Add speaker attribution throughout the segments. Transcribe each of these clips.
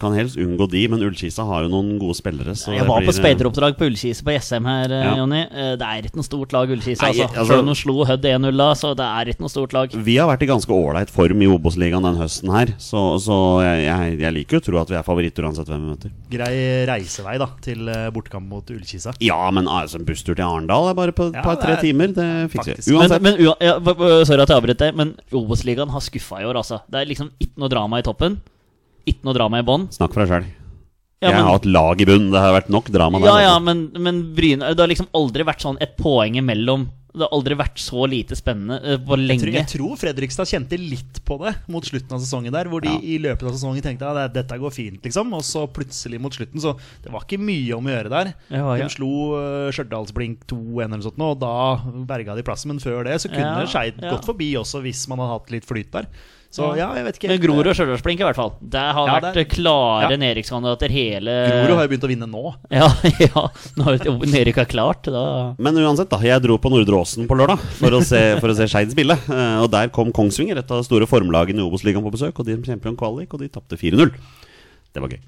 Speaker 1: kan helst unngå de. Men Ullskisa har jo noen gode spillere. Så
Speaker 2: Jeg
Speaker 1: det blir-
Speaker 2: var
Speaker 1: eh,
Speaker 2: på speideroppdrag på Ullkise på Jessheim her, eh,
Speaker 1: Ja.
Speaker 2: Jonny. Eh, Det er ikke noe stort lag Ullkise,
Speaker 1: Nei,
Speaker 2: altså.
Speaker 1: altså-
Speaker 2: Selv om de slo Hødd 1-0 da, så det er ikke noe stort lag.
Speaker 1: Vi har vært i ganske ålreit form i Obos-ligaen den høsten her, så, så jeg, jeg, jeg liker jo å tro at vi er favoritter uansett hvem vi møter.
Speaker 3: Grei reisevei da til eh, bortekamp mot Ullkisa.
Speaker 1: Ja, men altså, en busstur til Arendal er bare på et
Speaker 3: Ja, det
Speaker 1: par-tre
Speaker 3: er-
Speaker 1: timer. Det fikser
Speaker 3: faktisk.
Speaker 1: vi.
Speaker 2: Men,
Speaker 1: Uansett.
Speaker 2: men ua- ja, b- b- sorry at jeg avbrøt deg, men Obos-ligaen har skuffa i år, altså. Det er liksom ikke noe drama i toppen. Ikke noe drama i bånn.
Speaker 1: Snakk for deg sjøl.
Speaker 2: Ja,
Speaker 1: jeg
Speaker 2: men-
Speaker 1: har hatt lag i bunnen. Det har vært nok drama der.
Speaker 2: Ja, ja,
Speaker 1: altså.
Speaker 2: men, men Bryne Det har liksom aldri vært sånn et poeng imellom. Det har aldri vært så lite spennende eh, på
Speaker 3: Jeg tror,
Speaker 2: lenge.
Speaker 3: jeg tror Fredrikstad kjente litt på det mot slutten av sesongen der, hvor de
Speaker 1: Ja.
Speaker 3: i løpet av sesongen tenkte at ja, dette går fint, liksom. Og så plutselig mot slutten, så det var ikke mye om å gjøre der.
Speaker 2: Ja, ja.
Speaker 3: De slo eh, Stjørdalsblink 2-1 eller noe sånt, nå, og da berga de plassen. Men før det så kunne
Speaker 2: Ja,
Speaker 3: Skeid
Speaker 2: ja.
Speaker 3: gått forbi også, hvis man hadde hatt litt flyt der. Så ja,
Speaker 2: Ja.
Speaker 3: jeg vet ikke.
Speaker 2: Men Grorud og Stjørdalsblink, i hvert fall. Det har
Speaker 3: Ja,
Speaker 2: vært
Speaker 3: det-
Speaker 2: eh, klare
Speaker 3: ja.
Speaker 2: nedrykkskandidater hele
Speaker 3: Grorud har jo begynt å vinne nå.
Speaker 2: Ja, ja. Nå er det nedrykka klart. Da
Speaker 1: Men uansett, da. Jeg dro på Nordre Åsen på lørdag for å se, for å se Skeid spille. Eh, Og der kom Kongsvinger, et av de store formlagene i Obos-ligaen, på besøk. Og de kjemper om kvalik, og de tapte 4-0. Det var gøy.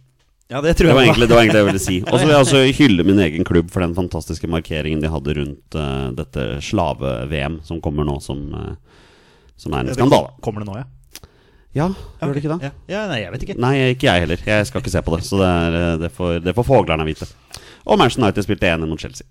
Speaker 3: Ja, det
Speaker 1: Det
Speaker 3: tror
Speaker 1: var
Speaker 3: jeg.
Speaker 1: egentlig det var egentlig det jeg ville si. Og så vil jeg også hylle min egen klubb for den fantastiske markeringen de hadde rundt eh, dette slave-VM som kommer nå, som, eh, som er en skandale.
Speaker 3: Kommer det nå, ja?
Speaker 1: Ja, gjør det ikke det?
Speaker 3: Ja. ja, nei, jeg vet ikke.
Speaker 1: Nei, ikke jeg heller. Jeg skal ikke se på det. Så det, er, eh, det får, det får foglerne vite. Og Manchester United spilte 1-1 mot Chelsea.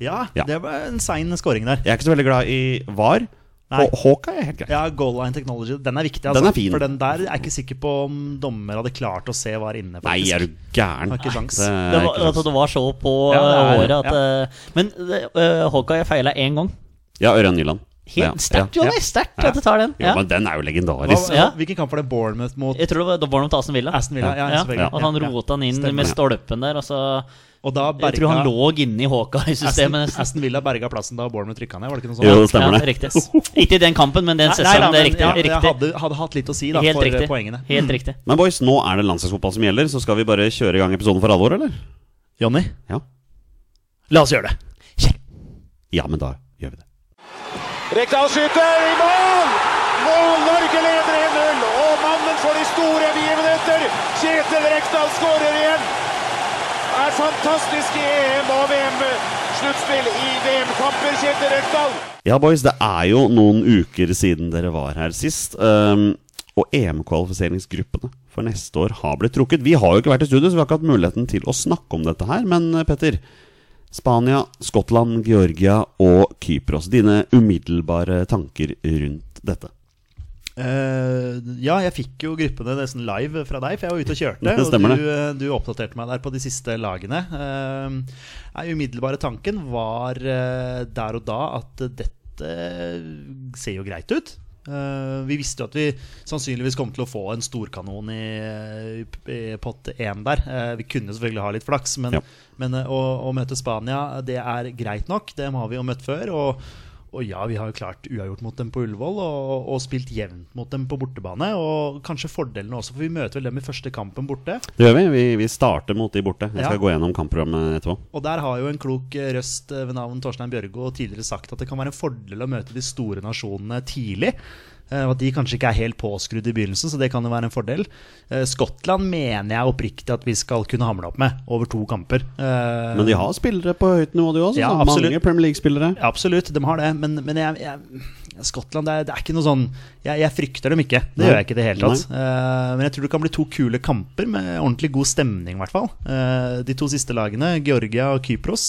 Speaker 3: Ja,
Speaker 1: Ja.
Speaker 3: det var en sein scoring der.
Speaker 1: Jeg er ikke så veldig glad i VAR.
Speaker 3: Nei.
Speaker 1: Og Hawk er helt greit.
Speaker 3: Ja, goal line technology, den er viktig. altså.
Speaker 1: Den er fin.
Speaker 3: For den der er jeg ikke sikker på om dommer hadde klart å se var inne.
Speaker 1: Nei,
Speaker 3: faktisk.
Speaker 1: er du gæren?
Speaker 3: Har ikke sjans.
Speaker 1: Det er
Speaker 2: det
Speaker 1: ikke
Speaker 2: var, altså,
Speaker 1: sjans.
Speaker 2: det var så på
Speaker 3: Ja, det er-
Speaker 2: eh, håret at
Speaker 3: ja.
Speaker 2: eh, Men uh, Hawkeye feila én gang.
Speaker 1: Ja, Ørjan Nyland. Ja,
Speaker 2: Helt sterkt,
Speaker 1: ja,
Speaker 2: Jonny!
Speaker 1: ja.
Speaker 2: Sterkt
Speaker 1: Ja.
Speaker 2: at du tar den.
Speaker 1: Jo,
Speaker 2: Ja.
Speaker 1: men den er jo
Speaker 3: Hva,
Speaker 1: legendarisk.
Speaker 2: Ja.
Speaker 3: Hvilken kamp var det Bournemouth mot
Speaker 2: Jeg tror det var, det var mot Aston Villa.
Speaker 3: Aston Villa? Ja,
Speaker 2: Ja.
Speaker 3: selvfølgelig.
Speaker 2: At han
Speaker 3: Ja, ja.
Speaker 2: rota den inn
Speaker 3: Stemmer.
Speaker 2: med stolpen der. Altså,
Speaker 3: Og da
Speaker 2: jeg tror han
Speaker 3: berga
Speaker 2: lå inni Hawkeye-systemet
Speaker 3: Aston,
Speaker 2: nesten.
Speaker 3: Aston Villa berga plassen da Bournemouth rykka ned, var det ikke noe sånt?
Speaker 1: Jo, det stemmer
Speaker 2: ja,
Speaker 1: det.
Speaker 2: Riktig. Ikke i den kampen, men den
Speaker 3: Nei, nei,
Speaker 2: sesongen.
Speaker 3: da,
Speaker 2: Det er
Speaker 3: men
Speaker 2: riktig.
Speaker 3: ja, Jeg
Speaker 2: riktig.
Speaker 3: hadde, hadde hatt litt å si da,
Speaker 2: Helt
Speaker 3: for eh,
Speaker 2: riktig.
Speaker 3: poengene.
Speaker 2: Helt riktig.
Speaker 1: Men boys, nå er det landslagsfotball som gjelder, så skal vi bare kjøre i gang episoden for alvor, eller?
Speaker 3: Jonny,
Speaker 1: Ja.
Speaker 3: la oss gjøre det.
Speaker 1: Ja, men da gjør vi det.
Speaker 4: Rekdal skyter i mål! Mål! Norge leder 1-0. Og mannen for de store begivenheter, Kjetil Rekdal, skårer igjen. Det er fantastisk i EM- og VM-sluttspill i VM-kamper, Kjetil Rekdal.
Speaker 1: Ja, boys, det er jo noen uker siden dere var her sist. ehm, og EM-kvalifiseringsgruppene for neste år har blitt trukket. Vi har jo ikke vært i studio, så vi har ikke hatt muligheten til å snakke om dette her. Men eh, Petter, Spania, Skottland, Georgia og Kypros. Dine umiddelbare tanker rundt dette.
Speaker 3: Eh, ja, jeg fikk jo gruppene nesten live fra deg, for jeg var ute og kjørte.
Speaker 1: Det stemmer
Speaker 3: og du, eh, du oppdaterte meg der på de siste lagene. Eh, nei, umiddelbare tanken var eh, der og da at dette ser jo greit ut. Eh, vi visste jo at vi sannsynligvis kom til å få en storkanon i, i pott én der. Eh, vi kunne selvfølgelig ha litt flaks, men,
Speaker 1: Ja.
Speaker 3: men eh, å, å møte Spania, det er greit nok. Dem har vi jo møtt før. og og ja, vi har jo klart uavgjort mot dem på Ullevål, og, og spilt jevnt mot dem på bortebane. Og kanskje fordelene også, for vi møter vel dem i første kampen borte.
Speaker 1: Det gjør vi. Vi, vi starter mot de borte. Jeg skal
Speaker 3: Ja.
Speaker 1: gå gjennom kampprogrammet etterpå.
Speaker 3: Og der har jo en klok eh, røst eh, ved navn Torstein Bjørgo tidligere sagt at det kan være en fordel å møte de store nasjonene tidlig. eh, Og at de kanskje ikke er helt påskrudd i begynnelsen, så det kan jo være en fordel. Eh, Skottland mener jeg oppriktig at vi skal kunne hamle opp med over to kamper. Eh,
Speaker 1: Men de har spillere på høyt nivå, de også.
Speaker 3: Ja,
Speaker 1: så
Speaker 3: absolutt.
Speaker 1: mange Premier League-spillere.
Speaker 3: Ja, Absolutt, de har det, men, men jeg, jeg, Skottland det er, det er ikke noe sånn Jeg, jeg frykter dem ikke. Det
Speaker 1: Nei.
Speaker 3: gjør jeg ikke i det hele tatt. Eh, men jeg tror det kan bli to kule kamper med ordentlig god stemning, i hvert fall. Eh, de to siste lagene, Georgia og Kypros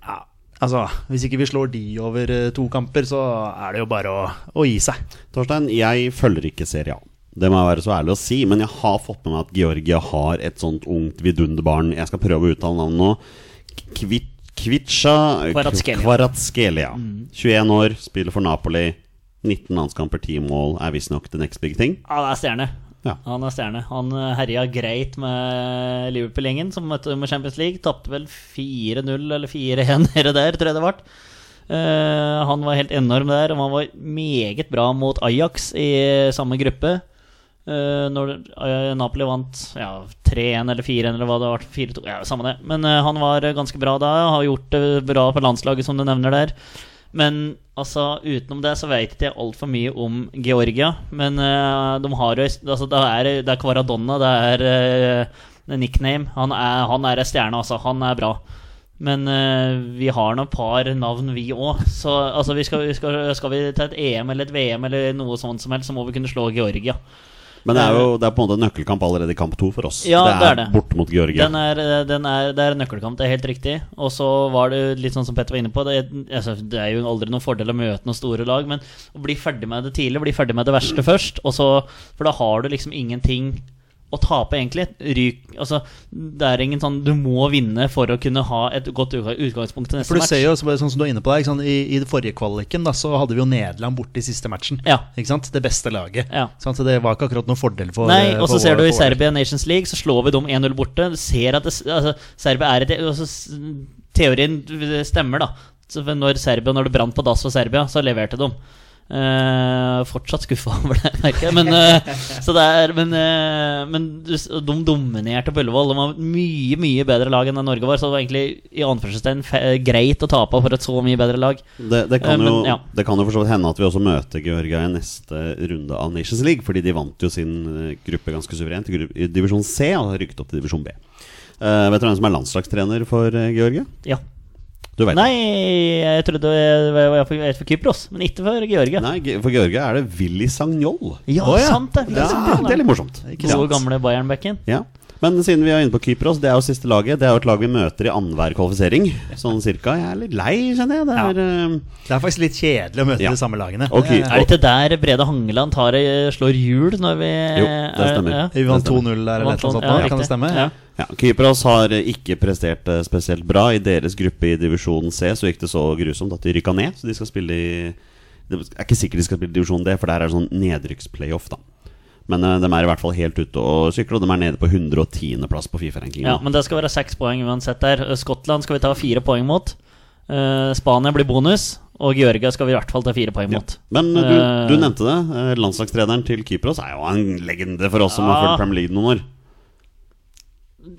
Speaker 3: ja, Altså, Hvis ikke vi slår de over eh, to kamper, så er det jo bare å, å gi seg.
Speaker 1: Torstein, jeg følger ikke Serie A. Det må jeg være så ærlig å si, men jeg har fått med meg at Georgia har et sånt ungt vidunderbarn. Jeg skal prøve å uttale navnet nå. Kvit, Kvitsja
Speaker 2: Kvaratskhelia. Mm.
Speaker 1: Kvaratskelia. 21 år, spiller for Napoli. 19 landskamper, 10 mål, er visstnok the next big thing.
Speaker 2: Ja, det er stjerne.
Speaker 1: Ja.
Speaker 2: Han er stjerne. Han eh, herja greit med Liverpool-gjengen, som møtte dem i Champions League. Tapte vel 4-0 eller 4-1 nede der, tror jeg det ble. Eh, han var helt enorm der, og han var meget bra mot Ajax i samme gruppe. Eh, når eh, Napoli vant ja, 3-1 eller 4-1 eller hva det var, 4-2, ja, samme det. Men eh, han var eh, ganske bra da, har gjort det bra på landslaget, som du nevner der. Men altså, utenom det så vet ikke jeg altfor mye om Georgia. Men eh, de har jo altså, det, er, det er Kvaradonna, det er eh, nickname. Han er, han er en stjerne, altså. Han er bra. Men eh, vi har nå et par navn, vi òg. Så altså, vi skal, vi skal, skal vi til et EM eller et VM eller noe sånt som helst, så må vi kunne slå Georgia.
Speaker 1: Men det er jo det er på en måte en nøkkelkamp allerede i kamp to for oss.
Speaker 2: Ja, det er det.
Speaker 1: bort mot Georgia.
Speaker 2: Den er, eh, den er, det er en nøkkelkamp, det er helt riktig. Og så var det litt sånn som Petter var inne på. Det er, altså, det er jo aldri noen fordel å møte noen store lag, men å bli ferdig med det tidlig, bli ferdig med det verste først. Og så, for da har du liksom ingenting å tape, egentlig. Ryk, altså, det er ingen sånn Du må vinne for å kunne ha et godt utga- utgangspunkt til neste
Speaker 3: For du
Speaker 2: match.
Speaker 3: ser jo, så- sånn som du er inne på der, ikke sant? I, i det forrige kvaliken da, så hadde vi jo Nederland borte i siste matchen.
Speaker 2: Ja.
Speaker 3: Ikke sant? Det beste laget.
Speaker 2: Ja.
Speaker 3: Sant? Så det var ikke akkurat noen fordel for
Speaker 2: Nei,
Speaker 3: eh,
Speaker 2: og
Speaker 3: for
Speaker 2: så ser
Speaker 3: vår- for
Speaker 2: du i
Speaker 3: vår del.
Speaker 2: Serbia Nations League, så slår vi dem 1-0 borte. Du ser at det, altså, Serbia er et altså, s- Teorien stemmer, da. Så for når, Serbia, når det brant på dass for Serbia, så leverte de. Eh, fortsatt skuffa over det, merker jeg. Men, eh, så det er, men, eh, men du s- de dominerte på Ullevål. De var mye mye bedre lag enn det Norge var, så det var egentlig i anførselstegn fe- greit å tape for et så mye bedre lag.
Speaker 1: Det, det, kan
Speaker 2: Eh,
Speaker 1: jo,
Speaker 2: men, ja.
Speaker 1: det kan jo for så vidt hende at vi også møter Georgia i neste runde av Nations League, fordi de vant jo sin eh, gruppe ganske suverent i gru- i divisjon C og har rykket opp til divisjon B. Eh, vet du hvem som er landslagstrener for eh, Georgia?
Speaker 2: Ja.
Speaker 1: Du vet det.
Speaker 2: Nei, jeg trodde jeg var for, jeg var for Kypros, men ikke for Georgia.
Speaker 1: Nei, Ge- for Georgia er det Willy Sagnol.
Speaker 2: Ja,
Speaker 3: Å, ja.
Speaker 2: sant det!
Speaker 1: Ja, det er litt morsomt.
Speaker 2: Gode gamle Bayern-bekken.
Speaker 1: Ja. Men siden vi er inne på Kypros, det er jo siste laget. Det er jo et lag vi møter i annenhver kvalifisering. Sånn cirka. Jeg er litt lei, kjenner jeg. Det er, eh,
Speaker 3: Det er faktisk litt kjedelig å møte
Speaker 1: Ja.
Speaker 3: de samme lagene. Eh,
Speaker 1: Og Ky-
Speaker 2: Er det ikke der Brede Hangeland tar, eh, slår hjul når vi
Speaker 1: Jo, det stemmer.
Speaker 2: Er, ja.
Speaker 3: Vi vant 2-0 der, eller
Speaker 2: Vant
Speaker 3: noe sånt. nå,
Speaker 2: 2-0, ja,
Speaker 3: kan det
Speaker 2: riktig.
Speaker 3: stemme?
Speaker 2: Ja.
Speaker 1: Ja, Kypros har ikke prestert eh, spesielt bra. I deres gruppe i divisjon C så gikk det så grusomt at de rykka ned. Så de skal spille i Det er ikke sikkert de skal spille i divisjon D, for der er det sånn nedrykksplayoff, da. Men eh, de er i hvert fall helt ute og sykler, og de er nede på 110.-plass på Fifa-rankingen.
Speaker 2: ja, Men det skal være seks poeng uansett der. Skottland skal vi ta fire poeng mot. Eh, Spania blir bonus, og Georgia skal vi i hvert fall ta fire poeng mot.
Speaker 1: Men eh, du, du
Speaker 2: Eh,
Speaker 1: nevnte det. eh, Landslagstreneren til Kypros er jo en legende for oss som har
Speaker 2: Ja.
Speaker 1: fulgt Premier League noen år.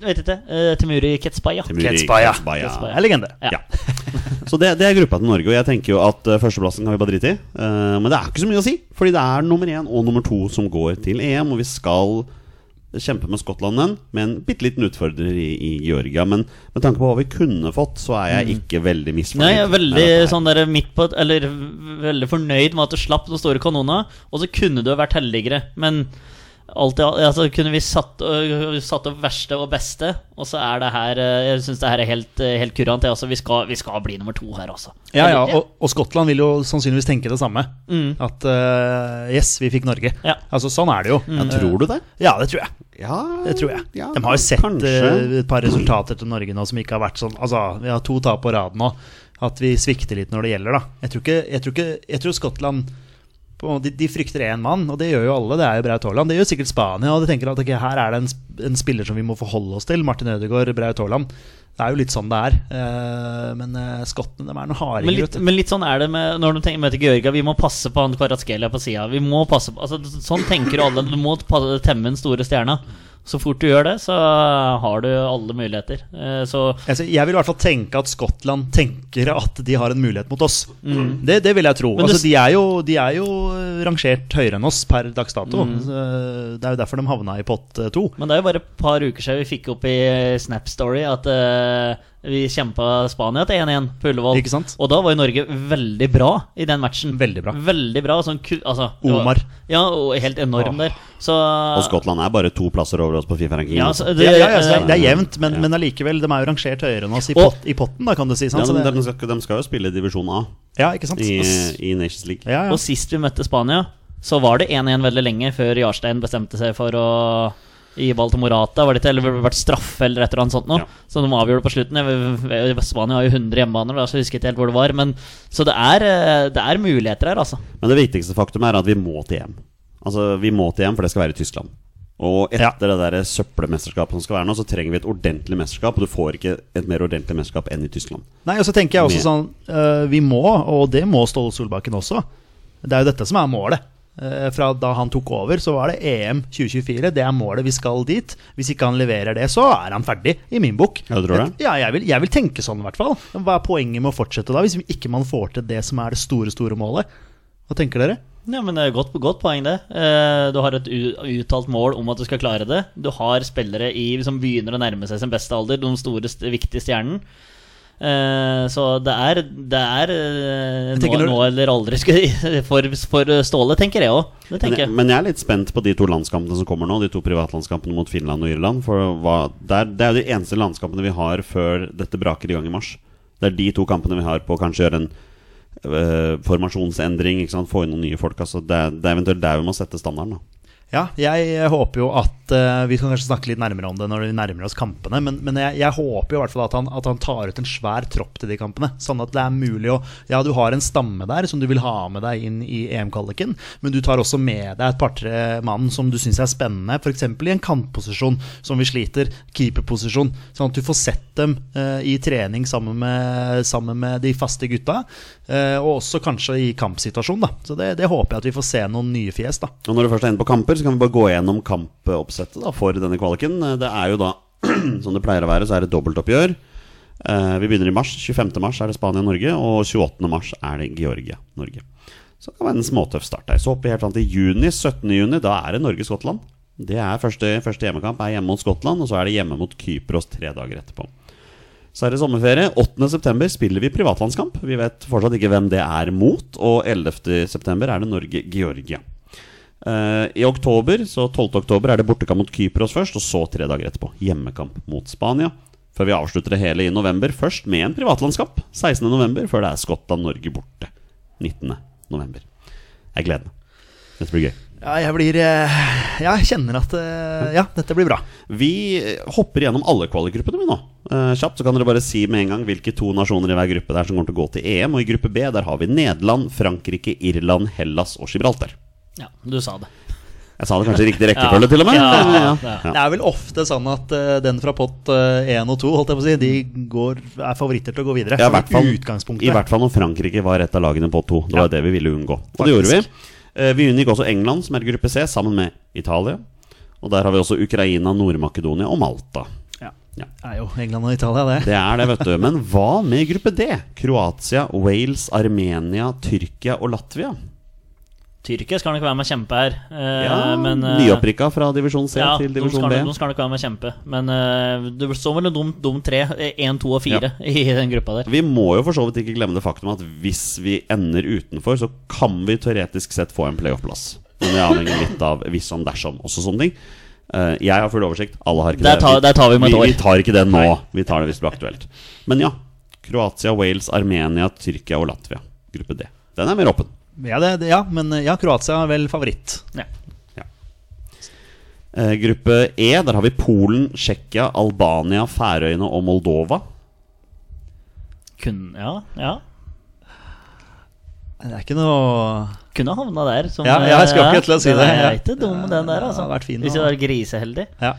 Speaker 2: Vet ikke. eh, Temuri Ketsbaya.
Speaker 1: Temuri
Speaker 3: Ketsbaya.
Speaker 1: Ketsbaya.
Speaker 2: Ketsbaya.
Speaker 3: Det er legende.
Speaker 2: Ja.
Speaker 1: Ja. Så det, det er gruppa til Norge, og jeg tenker jo at eh, førsteplassen kan vi bare drite i. Eh, men det er ikke så mye å si, fordi det er nummer én og nummer to som går til EM, og vi skal kjempe med Skottland den, med en bitte liten utfordrer i, i Georgia. Men med tanke på hva vi kunne fått, så er jeg ikke veldig misfornøyd. Eh,
Speaker 2: Nei, jeg er veldig
Speaker 1: med dette her.
Speaker 2: sånn der midt på Eller veldig fornøyd med at du slapp den store kanona, og så kunne du ha vært heldigere, men alt i alt altså, Kunne vi satt, øh, satt opp verste og beste, og så er det her øh, Jeg syns det her er helt, øh, helt kurant. jeg, Altså, vi, skal, vi skal bli nummer to her, altså.
Speaker 3: Ja, ja, og, og Skottland vil jo sannsynligvis tenke det samme. At eh, yes, vi fikk Norge.
Speaker 2: Mm. Ja. Mm.
Speaker 3: Altså, sånn er det jo.
Speaker 1: ja, tror du det?
Speaker 3: Ja, det tror jeg.
Speaker 1: Ja,
Speaker 3: Det tror jeg.
Speaker 1: ja,
Speaker 3: De har jo sett
Speaker 1: kanskje.
Speaker 3: eh, et par resultater til Norge nå som ikke har vært sånn Altså, vi har to tap på rad nå. At vi svikter litt når det gjelder, da. Jeg tror, ikke, jeg tror, ikke, jeg tror Skottland på- de, de frykter én mann, og det gjør jo alle. Det er jo Braut Haaland. Det gjør sikkert Spania. Og de tenker at ok, her er det en, sp- en spiller som vi må forholde oss til. Martin Ødegaard, Braut Haaland. Det er jo litt sånn det er. Eh, men eh, skottene, de er noen
Speaker 2: Men
Speaker 3: hardinger.
Speaker 2: litt, men litt sånn er det med, når du tenker, møter Georgia. Vi må passe på han Kvaratskhelia på sida. Vi må passe på, altså, sånn tenker jo alle. Du må pa- temme den store stjerna. Så fort du gjør det, så har du alle muligheter. Eh, Så
Speaker 3: Altså, jeg vil i hvert fall tenke at Skottland tenker at de har en mulighet mot oss. Det, det vil jeg tro.
Speaker 2: Mm. Men det-
Speaker 3: Altså, de, er jo, de er jo eh, rangert høyere enn oss per dags dato.
Speaker 2: Mm.
Speaker 3: Så, eh, Det er jo derfor de havna i pott eh, to.
Speaker 2: Men det er jo bare et par uker siden vi fikk opp i Snap Story at eh, vi kjempa Spania til 1-1 på Ullevål.
Speaker 3: Ikke sant?
Speaker 2: Og da var jo Norge veldig bra i den matchen.
Speaker 3: Veldig bra.
Speaker 2: Veldig bra, sånn ku... Altså, det var-
Speaker 3: Omar.
Speaker 2: Ja, og helt enorm der. Så
Speaker 1: Og Skottland er bare to plasser over oss på Fifa-rankingen.
Speaker 2: Ja,
Speaker 1: også.
Speaker 2: så det, eh,
Speaker 3: Ja, ja, ja, så det, er, det er
Speaker 1: ja.
Speaker 3: jevnt, men, men allikevel. De er jo rangert høyere enn oss i,
Speaker 2: Og-
Speaker 3: pott, i potten, da, kan du si.
Speaker 1: Ja,
Speaker 3: Sant? Så
Speaker 1: de,
Speaker 3: altså, det,
Speaker 1: de, skal, de skal jo spille divisjon A
Speaker 3: ja, ikke sant?
Speaker 1: i,
Speaker 3: Ja,
Speaker 1: i Nations League.
Speaker 3: ja.
Speaker 2: Og sist vi møtte Spania, så var det 1-1 veldig lenge før Jarstein bestemte seg for å gi ball til Morata. Var det ikke, eller burde det vært straffe eller et eller annet sånt noe?
Speaker 1: Ja.
Speaker 2: Så de avgjorde på slutten. Jeg- jeg- Spania har jo 100 hjemmebaner, da, så jeg husker ikke helt hvor det var. Men, så det er, eh, det er muligheter her, altså.
Speaker 1: Men det viktigste faktum er at vi må til EM. Altså, vi må til EM, for det skal være i Tyskland. Og etter det der søppelmesterskapet som skal være nå, så trenger vi et ordentlig mesterskap. Og du får ikke et mer ordentlig mesterskap enn i Tyskland.
Speaker 3: Nei, og så tenker jeg
Speaker 1: Med-
Speaker 3: også sånn eh, Vi må, og det må Ståle Solbakken også. Det er jo dette som er målet. Eh, fra da han tok over, så var det EM 2024. Det er målet. Vi skal dit. Hvis ikke han leverer det, så er han ferdig, i min bok.
Speaker 1: Ja, du tror det?
Speaker 3: Ja, jeg vil, jeg vil tenke sånn, i hvert fall. Men Hva er poenget med å fortsette da, hvis vi ikke man får til det som er det store, store målet? Hva tenker dere?
Speaker 2: Ja, men det er godt, godt poeng, det. Eh, Du har et u- uttalt mål om at du skal klare det. Du har spillere i, som begynner å nærme seg sin beste alder, de store, st- viktige stjernene. Eh, Så det er, det er eh,
Speaker 3: Jeg
Speaker 2: nå,
Speaker 3: tenker når-
Speaker 2: nå eller aldri skulle- for, for Ståle, tenker jeg òg. Det
Speaker 1: Men
Speaker 2: tenker
Speaker 1: jeg,
Speaker 2: jeg.
Speaker 1: men jeg er litt spent på de to landskampene som kommer nå. De to privatlandskampene mot Finland og Irland. For hva, der, det er jo de eneste landskampene vi har før dette braker i gang i mars. Det er de to kampene vi har på å kanskje gjøre en øh, formasjonsendring. Ikke sant? Få inn noen nye folk. Altså, det, er, det er eventuelt der vi må sette standarden. Da.
Speaker 3: Ja, jeg håper jo at eh, Vi kan kanskje snakke litt nærmere om det når vi nærmer oss kampene, men, men jeg, jeg håper jo i hvert fall at han, at han tar ut en svær tropp til de kampene. Sånn at det er mulig å Ja, du har en stamme der som du vil ha med deg inn i EM-kvaliken, men du tar også med deg et par-tre mann som du syns er spennende, f.eks. i en kantposisjon som vi sliter, keeperposisjon. Sånn at du får sett dem eh, i trening sammen med, sammen med de faste gutta, eh, og også kanskje i kampsituasjon, da. Så det, det håper jeg at vi får se noen nye fjes, da.
Speaker 1: Og når du først er inne på kamper, så kan vi bare gå gjennom kampoppsettet da, for denne kvaliken. Eh, Det er jo da, som det pleier å være, så er det dobbeltoppgjør. Eh, vi begynner i mars. 25. mars er det Spania-Norge, og 28. mars er det Georgia-Norge. Så det kan være en småtøff start der. Så opp i helt fram til juni, 17. juni, da er det Norge-Skottland. Det er første, første hjemmekamp er hjemme mot Skottland, og så er det hjemme mot Kypros tre dager etterpå. Så er det sommerferie. 8.9 spiller vi privatlandskamp. Vi vet fortsatt ikke hvem det er mot. Og 11.9 er det Norge-Georgia. Eh, I oktober, så 12. oktober er det bortekamp mot Kypros først, og så tre dager etterpå hjemmekamp mot Spania. Før vi avslutter det hele i november, først med en privatlandskamp. 16. november, før det er Skottland-Norge borte. 19. november. Jeg gleder meg. Dette blir gøy.
Speaker 3: Ja, jeg blir eh, Ja, jeg kjenner at eh, Ja, dette blir bra.
Speaker 1: Vi hopper gjennom alle kvalikgruppene vi nå. Eh, kjapt så kan dere bare si med en gang hvilke to nasjoner i hver gruppe det er som kommer til å gå til EM. Og i gruppe B der har vi Nederland, Frankrike, Irland, Hellas og Gibraltar.
Speaker 2: Ja, du sa det.
Speaker 1: Jeg sa det kanskje i riktig rekkefølge, til og med.
Speaker 2: Ja, ja, ja.
Speaker 1: Ja.
Speaker 3: Det er vel ofte sånn at eh, den fra pott eh, 1 og 2 holdt jeg på å si, de går, er favoritter til å gå videre.
Speaker 1: Ja, i hvert fall,
Speaker 3: Utgangspunktet.
Speaker 1: I hvert fall når Frankrike var et av lagene på to. Det var det vi ville unngå. Og det gjorde vi. Eh, Vi unngikk også England, som er i gruppe C, sammen med Italia. Og der har vi også Ukraina, Nord-Makedonia og Malta.
Speaker 3: Ja.
Speaker 1: Ja.
Speaker 3: Det er jo England og Italia, det.
Speaker 1: Det er det, vet du. Men hva med gruppe D? Kroatia, Wales, Armenia, Tyrkia og Latvia.
Speaker 2: Tyrkia skal nok være med å kjempe her. eh,
Speaker 1: Ja,
Speaker 2: men, eh,
Speaker 1: Nyopprykka fra divisjon C
Speaker 2: ja,
Speaker 1: til
Speaker 2: de
Speaker 1: divisjon
Speaker 2: skal,
Speaker 1: B.
Speaker 2: nok- de skal nok være med å kjempe. Men eh, det står mellom de, de tre, én, to og fire, i den gruppa der.
Speaker 1: Vi må jo for så vidt ikke glemme det faktum at hvis vi ender utenfor, så kan vi teoretisk sett få en playoff-plass. Men det avhenger litt av hvis om dersom, også sånne ting. Eh, Jeg har full oversikt, alle har ikke
Speaker 2: Der
Speaker 1: det.
Speaker 2: tar- der tar vi med et år.
Speaker 1: Vi tar ikke det nå, vi tar det hvis det blir aktuelt. Men ja. Kroatia, Wales, Armenia, Tyrkia og Latvia. Gruppe D. Den er mer åpen.
Speaker 3: Ja, det, det ja men eh, ja, Kroatia er vel favoritt.
Speaker 2: Ja.
Speaker 1: Eh, Gruppe E, der har vi Polen, Tsjekkia, Albania, Færøyene og Moldova.
Speaker 2: Kun, ja, ja.
Speaker 3: Det er ikke noe
Speaker 2: Kunne havna der. Som,
Speaker 3: Ja, ja, jeg skulle akkurat til å si
Speaker 2: den
Speaker 3: det,
Speaker 2: Er
Speaker 3: ja.
Speaker 2: jeg er ikke dum, den der, altså.
Speaker 3: Det har vært fin,
Speaker 2: Hvis jeg
Speaker 3: da.
Speaker 2: var griseheldig.
Speaker 3: Ja.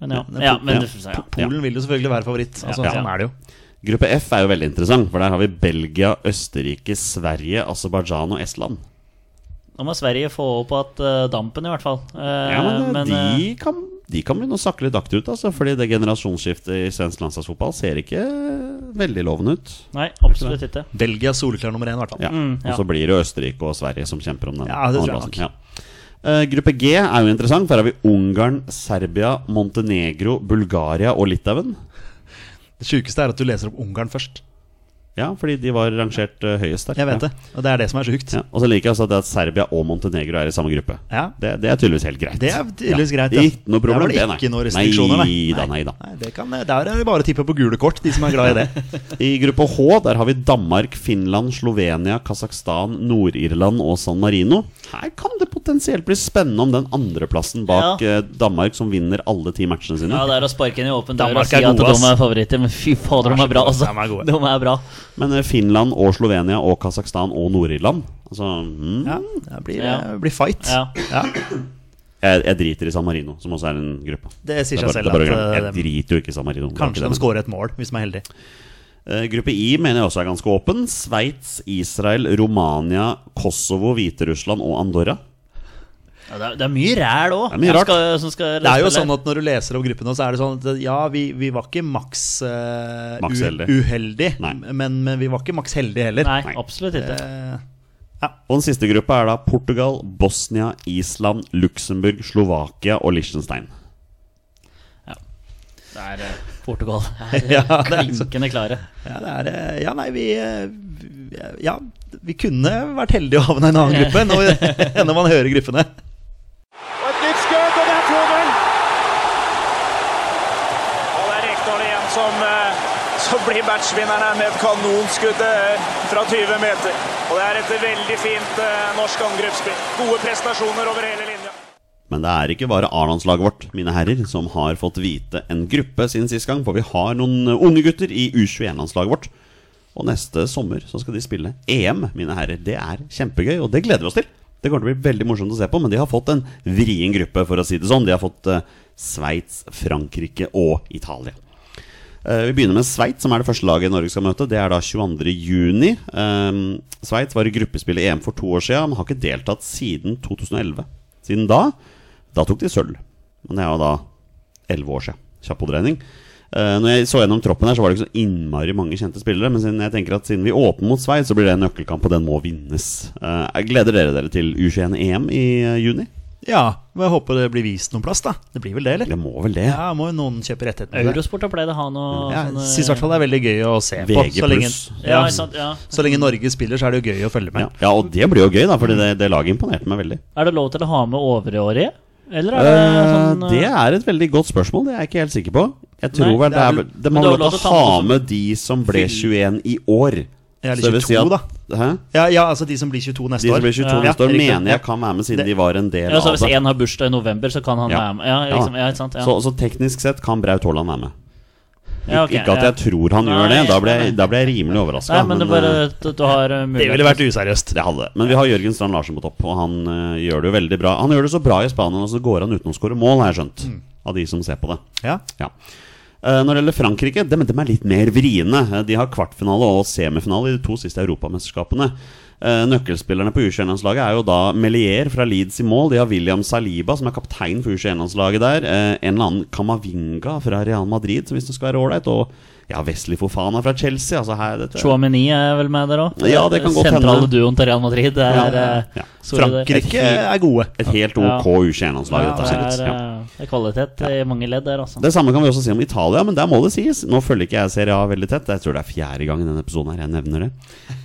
Speaker 2: Men ja.
Speaker 3: Ja,
Speaker 2: ja,
Speaker 3: po-
Speaker 2: men,
Speaker 1: ja.
Speaker 2: ja.
Speaker 1: Ja.
Speaker 3: Polen vil jo selvfølgelig være favoritt. Altså,
Speaker 1: Ja.
Speaker 3: Sånn er det jo.
Speaker 1: Gruppe F er jo veldig interessant, for der har vi Belgia, Østerrike, Sverige, Aserbajdsjan og Estland.
Speaker 2: Nå må Sverige få opp at eh, dampen, i hvert fall. Eh,
Speaker 1: Ja, men, eh,
Speaker 2: eh,
Speaker 1: de, kan, de kan begynne å sakke litt akterut, altså, fordi det generasjonsskiftet i svensk landslagsfotball ser ikke veldig lovende ut.
Speaker 2: Nei, absolutt ikke.
Speaker 3: Belgia soleklar nummer én, i hvert fall.
Speaker 1: Ja.
Speaker 2: Mm, ja.
Speaker 1: Og så blir det jo Østerrike og Sverige som kjemper om den.
Speaker 3: Ja, det tror jeg
Speaker 1: andreplassen.
Speaker 3: nok.
Speaker 1: Ja. Eh, gruppe G er jo interessant, for her har vi Ungarn, Serbia, Montenegro, Bulgaria og Litauen.
Speaker 3: Det sjukeste er at du leser opp Ungarn først.
Speaker 1: Ja, fordi de var rangert eh, høyest der.
Speaker 3: Jeg vet
Speaker 1: ja.
Speaker 3: det. Og det er det som er sjukt.
Speaker 1: Ja. Og så liker jeg også at, det at Serbia og Montenegro er i samme gruppe.
Speaker 3: Ja.
Speaker 1: Det, det er tydeligvis helt greit.
Speaker 3: Det er tydeligvis greit.
Speaker 1: Ja. Ikke noe problem,
Speaker 3: Der var det
Speaker 1: det,
Speaker 3: ikke
Speaker 1: nei.
Speaker 3: noen restriksjoner, nei.
Speaker 1: Neida, neida.
Speaker 3: Nei, det kan, der er det bare å tippe på gule kort, de som er glad i det.
Speaker 1: I gruppe H der har vi Danmark, Finland, Slovenia, Kasakhstan, Nord-Irland og San Marino. Her kan det potensielt bli spennende om den andreplassen bak
Speaker 2: Ja.
Speaker 1: eh, Danmark, som vinner alle ti matchene sine.
Speaker 2: Ja, det er å sparke inn i åpen dør og
Speaker 3: Danmark
Speaker 2: si
Speaker 3: er
Speaker 2: at
Speaker 3: gode,
Speaker 2: de
Speaker 3: ass.
Speaker 2: er favoritter, men fy fader, de er bra, altså.
Speaker 3: De er gode.
Speaker 2: De er bra.
Speaker 1: Men eh, Finland og Slovenia og Kasakhstan og Nord-Irland altså, mm.
Speaker 3: Ja, det blir,
Speaker 2: Ja.
Speaker 3: det blir fight.
Speaker 2: Ja.
Speaker 3: Ja.
Speaker 1: Jeg, jeg driter i San Marino, som også er en gruppe.
Speaker 3: Det sier
Speaker 1: er
Speaker 3: seg
Speaker 1: bare- det
Speaker 3: selv
Speaker 1: er bare
Speaker 3: at,
Speaker 1: å glemme.
Speaker 3: eh,
Speaker 1: Jeg driter jo ikke i San Marino. Det er ikke
Speaker 3: Kanskje
Speaker 1: det, men-
Speaker 3: de skårer et mål, hvis de er heldige.
Speaker 1: Eh, Gruppe I mener jeg også er ganske åpen. Sveits, Israel, Romania, Kosovo, Hviterussland og Andorra.
Speaker 2: Ja, det, er, det er mye ræl òg.
Speaker 1: Det er mye rart.
Speaker 2: Som skal
Speaker 3: Det er jo
Speaker 2: spille.
Speaker 3: sånn at Når du leser opp gruppene, så er det sånn at ja, vi, vi var ikke maks eh,
Speaker 1: Maks
Speaker 3: u-
Speaker 1: heldig.
Speaker 3: uheldig,
Speaker 1: Nei.
Speaker 3: men, men vi var ikke maks heldige heller.
Speaker 2: Nei,
Speaker 1: Nei.
Speaker 2: absolutt ikke.
Speaker 3: Eh,
Speaker 1: Og den siste gruppa er da Portugal, Bosnia, Island, Luxembourg, Slovakia og Liechtenstein.
Speaker 2: Det er eh, Portugal. Det er
Speaker 3: Ja, det er liksom-
Speaker 2: klinkende klare.
Speaker 3: ja, det er, eh, ja, nei, vi eh, Ja, vi kunne vært heldige å havne i en annen gruppe når, når man hører gruppene.
Speaker 4: Og et nytt skudd, og det er 2-0! Og det er Rekdal igjen som, eh, som blir matchvinneren her med et kanonskudd eh, fra 20 meter. Og det er et veldig fint eh, norsk angrepsspill. Gode prestasjoner over hele linja.
Speaker 1: Men det er ikke bare A-landslaget vårt, mine herrer, som har fått vite en gruppe siden sist gang, for vi har noen unge gutter i U21-landslaget vårt. Og neste sommer så skal de spille EM, mine herrer. Det er kjempegøy, og det gleder vi oss til. Det kommer til å bli veldig morsomt å se på, men de har fått en vrien gruppe, for å si det sånn. De har fått eh, Sveits, Frankrike og Italia. Eh, Vi begynner med Sveits, som er det første laget Norge skal møte. Det er da 22. juni. Um, Sveits var i gruppespill i EM for to år siden, men har ikke deltatt siden 2011. Siden da da tok de sølv. Men det er jo da 11 år siden. Kjapp hoderegning. Eh, når jeg så gjennom troppen her, så var det ikke så innmari mange kjente spillere. Men siden jeg tenker at siden vi åpner mot Sveits, så blir det en nøkkelkamp, og den må vinnes. Eh, gleder dere dere til U21-EM i eh, juni?
Speaker 3: Ja, men jeg håper det blir vist noen plass, da. Det blir vel det, eller?
Speaker 1: Det må vel det?
Speaker 3: Ja, må jo noen kjøpe rettighetene. til det.
Speaker 2: Eurosport har pleid å ha noe
Speaker 3: Ja,
Speaker 2: sånne-
Speaker 3: jeg syns i hvert fall det er veldig gøy å se på.
Speaker 1: sånn, eh, VG+.
Speaker 3: Så lenge,
Speaker 2: Ja,
Speaker 3: ja,
Speaker 2: ikke sant? Ja.
Speaker 3: så lenge Norge spiller, så er det jo gøy å følge med.
Speaker 1: Ja, ja og det blir jo gøy, da, Fordi det, det laget imponerte meg veldig.
Speaker 2: Er det lov til å ha med overårige? Eller er det
Speaker 1: Eh,
Speaker 2: sånn eh,
Speaker 1: det er et veldig godt spørmål, det er jeg ikke helt sikker på. Jeg tror
Speaker 2: Nei,
Speaker 1: vel det er,
Speaker 3: det
Speaker 1: vel- Det
Speaker 2: men
Speaker 1: må være
Speaker 2: du har
Speaker 1: lov til å ha med de som ble 21 i år.
Speaker 3: Eller
Speaker 1: Så det vil
Speaker 3: 22
Speaker 1: at, Hæ?
Speaker 3: Ja, ja, altså de som blir 22 neste
Speaker 1: De som
Speaker 3: år.
Speaker 1: blir 22
Speaker 2: Ja,
Speaker 1: neste år,
Speaker 3: riktig.
Speaker 1: mener jeg
Speaker 3: Ja.
Speaker 1: kan være med, siden de var en del
Speaker 2: ja, så
Speaker 1: av
Speaker 2: Hvis
Speaker 1: det.
Speaker 2: én har bursdag i november, så kan han
Speaker 1: Ja.
Speaker 2: være med? Ja,
Speaker 1: Ja.
Speaker 2: liksom, ja, ikke sant? Ja.
Speaker 1: Så, så teknisk sett kan Braut Haaland være med.
Speaker 2: ja, ok,
Speaker 1: ikke at
Speaker 2: ja.
Speaker 1: jeg tror han gjør det,
Speaker 2: Nei,
Speaker 1: da ble, jeg-
Speaker 2: nei.
Speaker 1: da ble jeg rimelig overraska.
Speaker 2: Nei, men det er bare at du har eh,
Speaker 3: Det
Speaker 2: mulighet
Speaker 3: ville vært useriøst.
Speaker 1: det hadde det. Men vi har Jørgen Strand Larsen på topp, og han eh, gjør det jo veldig bra. Han gjør det så bra i Spania, og så går han uten å skåre mål, har jeg skjønt.
Speaker 2: Mm.
Speaker 1: Av de som ser på det.
Speaker 3: Ja.
Speaker 1: Ja. Eh, Når det gjelder Frankrike, dem, dem er litt mer vriene. Eh, De har kvartfinale og semifinale i de to siste europamesterskapene. Eh, Nøkkelspillerne på U21-landslaget er jo da Melier fra Leeds i mål. De har William Saliba, som er kaptein for U21-landslaget der. Eh, En eller annen Kamavinga fra Real Madrid, som visstnok skal være ålreit. Og ja, Wesley Fofana fra Chelsea. Altså her, dette,
Speaker 2: Chouameni er vel med der òg?
Speaker 1: Ja, det kan godt hende.
Speaker 2: Sentrale duoen til Real Madrid. Det er,
Speaker 1: Ja.
Speaker 2: eh,
Speaker 1: Ja.
Speaker 2: store-
Speaker 3: Frankrike er gode.
Speaker 1: Et helt ok U21-landslag, dette
Speaker 2: det
Speaker 1: ser ut
Speaker 2: er,
Speaker 1: til. Ja.
Speaker 2: eh, det er kvalitet i mange ledd der, altså.
Speaker 1: Det samme kan vi også si om Italia, men der må det sies. Nå følger ikke jeg Serie A veldig tett. Jeg tror det er fjerde gang i denne episoden her jeg nevner det.